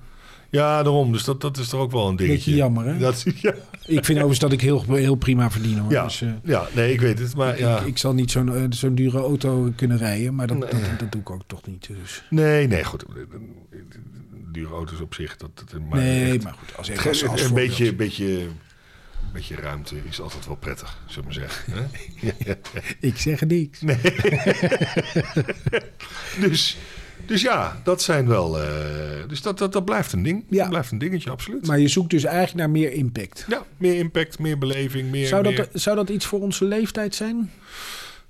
[SPEAKER 1] ja daarom. Dus dat, dat is er ook wel een dingetje.
[SPEAKER 2] Beetje jammer hè?
[SPEAKER 1] Dat, ja,
[SPEAKER 2] Ik vind overigens dat ik heel, heel prima verdien hoor.
[SPEAKER 1] ja,
[SPEAKER 2] Dus, eh,
[SPEAKER 1] ja, nee, ik weet het. Maar ja.
[SPEAKER 2] ik, ik zal niet zo'n eh, zo'n dure auto kunnen rijden. Maar dat, dat, dat doe ik ook toch niet. Dus.
[SPEAKER 1] Nee, nee, goed. Eh, Dure auto's op zich. Dat, dat, maar
[SPEAKER 2] nee,
[SPEAKER 1] echt-
[SPEAKER 2] maar goed. Als,
[SPEAKER 1] het-
[SPEAKER 2] even als, als
[SPEAKER 1] een
[SPEAKER 2] voorbeeld.
[SPEAKER 1] beetje, beetje, een beetje ruimte is altijd wel prettig, zullen we zeggen. hè?
[SPEAKER 2] Ik zeg niks.
[SPEAKER 1] dus, dus ja, dat zijn wel. eh, dus dat, dat, dat blijft een ding.
[SPEAKER 2] Ja.
[SPEAKER 1] Dat blijft een dingetje, absoluut.
[SPEAKER 2] Maar je zoekt dus eigenlijk naar meer impact.
[SPEAKER 1] ja, meer impact, meer beleving, meer.
[SPEAKER 2] Zou
[SPEAKER 1] meer-
[SPEAKER 2] dat, zou dat iets voor onze leeftijd zijn?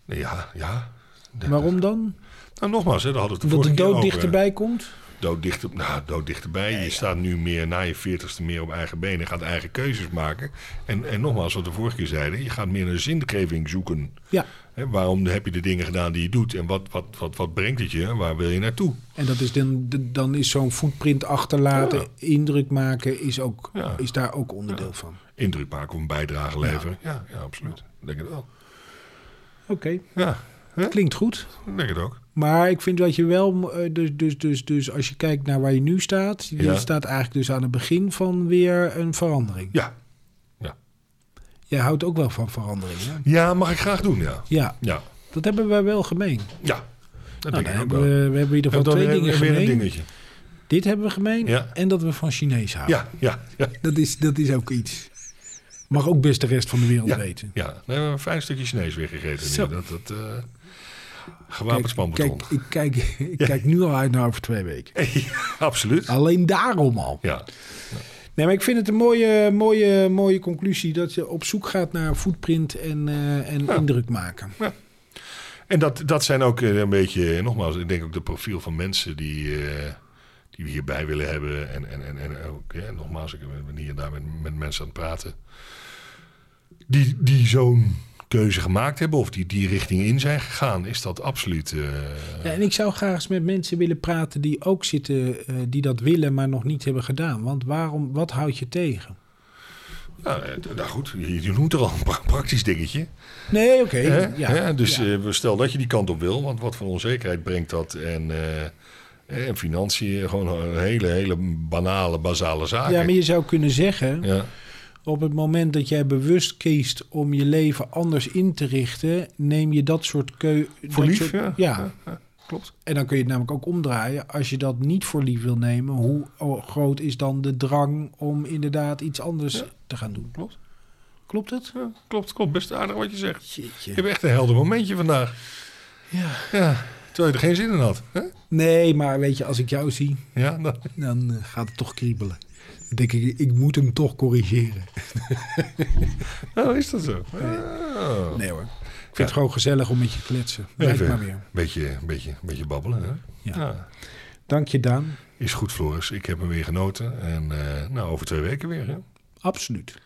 [SPEAKER 1] Ja, ja. Ja.
[SPEAKER 2] Waarom dan?
[SPEAKER 1] Nou, nogmaals, hè, daar hadden we het
[SPEAKER 2] Omdat de
[SPEAKER 1] vorige keer
[SPEAKER 2] dood
[SPEAKER 1] over, hè.
[SPEAKER 2] dichterbij komt?
[SPEAKER 1] Dood, dichter, nou, dood dichterbij. je staat nu meer na je veertigste meer op eigen benen. Je gaat eigen keuzes maken. En, en nogmaals, wat we vorige keer zeiden. Je gaat meer naar zingeving zoeken.
[SPEAKER 2] Ja,
[SPEAKER 1] Hè, waarom heb je de dingen gedaan die je doet? En wat, wat, wat, wat brengt het je? En Waar wil je naartoe?
[SPEAKER 2] en dat is dan, dan is zo'n footprint achterlaten,
[SPEAKER 1] Ja.
[SPEAKER 2] indruk maken, is, ook,
[SPEAKER 1] Ja.
[SPEAKER 2] is daar ook onderdeel van.
[SPEAKER 1] Indruk maken of een bijdrage leveren? Ja, ja, absoluut. Ik denk het wel.
[SPEAKER 2] Oké,
[SPEAKER 1] Ja,
[SPEAKER 2] klinkt goed.
[SPEAKER 1] ik denk het ook.
[SPEAKER 2] Maar ik vind dat je wel, eh, dus, dus, dus, dus als je kijkt naar waar je nu staat, je
[SPEAKER 1] Ja.
[SPEAKER 2] staat eigenlijk dus aan het begin van weer een verandering.
[SPEAKER 1] Ja,
[SPEAKER 2] Jij houdt ook wel van verandering, hè?
[SPEAKER 1] ja mag ik graag doen, ja.
[SPEAKER 2] Ja,
[SPEAKER 1] Ja,
[SPEAKER 2] dat hebben wij wel gemeen.
[SPEAKER 1] ja. dat denk
[SPEAKER 2] Nou, dan
[SPEAKER 1] ik ook
[SPEAKER 2] hebben
[SPEAKER 1] wel.
[SPEAKER 2] we, we hebben in ieder
[SPEAKER 1] En
[SPEAKER 2] geval
[SPEAKER 1] dan
[SPEAKER 2] twee
[SPEAKER 1] weer,
[SPEAKER 2] dingen
[SPEAKER 1] weer een
[SPEAKER 2] gemeen.
[SPEAKER 1] dingetje.
[SPEAKER 2] Dit hebben we gemeen
[SPEAKER 1] Ja.
[SPEAKER 2] en dat we van Chinees houden.
[SPEAKER 1] Ja, ja, ja.
[SPEAKER 2] Dat is, dat is ook iets. Mag ook best de rest van de wereld
[SPEAKER 1] Ja.
[SPEAKER 2] weten.
[SPEAKER 1] Ja, nee, we hebben een fijn stukje Chinees weer gegeten.
[SPEAKER 2] Zo.
[SPEAKER 1] Nu. Dat, dat, eh
[SPEAKER 2] Kijk,
[SPEAKER 1] gewapend spanbeton.
[SPEAKER 2] kijk, ik kijk, ik kijk nu al uit naar over twee weken.
[SPEAKER 1] Absoluut.
[SPEAKER 2] Alleen daarom al.
[SPEAKER 1] Ja.
[SPEAKER 2] Nee, maar ik vind het een mooie, mooie, mooie conclusie dat je op zoek gaat naar footprint en, eh, en
[SPEAKER 1] Ja.
[SPEAKER 2] indruk maken.
[SPEAKER 1] En dat, dat zijn ook eh, een beetje, eh, nogmaals, ik denk ook de profiel van mensen die, eh, die we hierbij willen hebben. En, en, en, en ook, eh, nogmaals, ik ben hier en daar met, met mensen aan het praten. Die, die zo'n keuze gemaakt hebben of die die richting in zijn gegaan, is dat absoluut. eh,
[SPEAKER 2] Ja, en ik zou graag eens met mensen willen praten die ook zitten, eh, die dat willen, maar nog niet hebben gedaan. Want waarom, wat houd je tegen?
[SPEAKER 1] nou, eh, nou goed, je, je noemt er al een pra- praktisch dingetje.
[SPEAKER 2] Nee, oké.
[SPEAKER 1] Hè?
[SPEAKER 2] Ja,
[SPEAKER 1] Hè? Dus
[SPEAKER 2] ja.
[SPEAKER 1] eh, stel dat je die kant op wil, want wat voor onzekerheid brengt dat? En, eh, en financiën, gewoon een hele, hele banale, basale zaken.
[SPEAKER 2] ja, maar je zou kunnen zeggen,
[SPEAKER 1] Ja.
[SPEAKER 2] op het moment dat jij bewust kiest om je leven anders in te richten, neem je dat soort keu...
[SPEAKER 1] Voor
[SPEAKER 2] dat
[SPEAKER 1] lief,
[SPEAKER 2] soort-
[SPEAKER 1] ja.
[SPEAKER 2] ja.
[SPEAKER 1] Klopt.
[SPEAKER 2] En dan kun je het namelijk ook omdraaien. Als je dat niet voor lief wil nemen, hoe groot is dan de drang om inderdaad iets anders
[SPEAKER 1] Ja.
[SPEAKER 2] te gaan doen?
[SPEAKER 1] Klopt.
[SPEAKER 2] Klopt het?
[SPEAKER 1] Ja, klopt, klopt. Best aardig wat je zegt. Je
[SPEAKER 2] Jeetje.
[SPEAKER 1] hebt echt een helder momentje vandaag.
[SPEAKER 2] Ja.
[SPEAKER 1] Ja, terwijl je er geen zin in had. Hè?
[SPEAKER 2] Nee, maar weet je, als ik jou zie,
[SPEAKER 1] Ja, dan-
[SPEAKER 2] dan eh, gaat het toch kriebelen. Dan denk ik, ik moet hem toch corrigeren.
[SPEAKER 1] oh, is dat zo? Oh.
[SPEAKER 2] Nee hoor.
[SPEAKER 1] Ik
[SPEAKER 2] vind het gewoon gezellig om met je te kletsen. Blijf
[SPEAKER 1] Even
[SPEAKER 2] maar weer.
[SPEAKER 1] Beetje, beetje, beetje babbelen. Hè?
[SPEAKER 2] Ja.
[SPEAKER 1] Ja.
[SPEAKER 2] Dank je, Daan.
[SPEAKER 1] Is goed, Floris. Ik heb er weer genoten. En eh, nou, over twee weken weer. Hè?
[SPEAKER 2] Absoluut.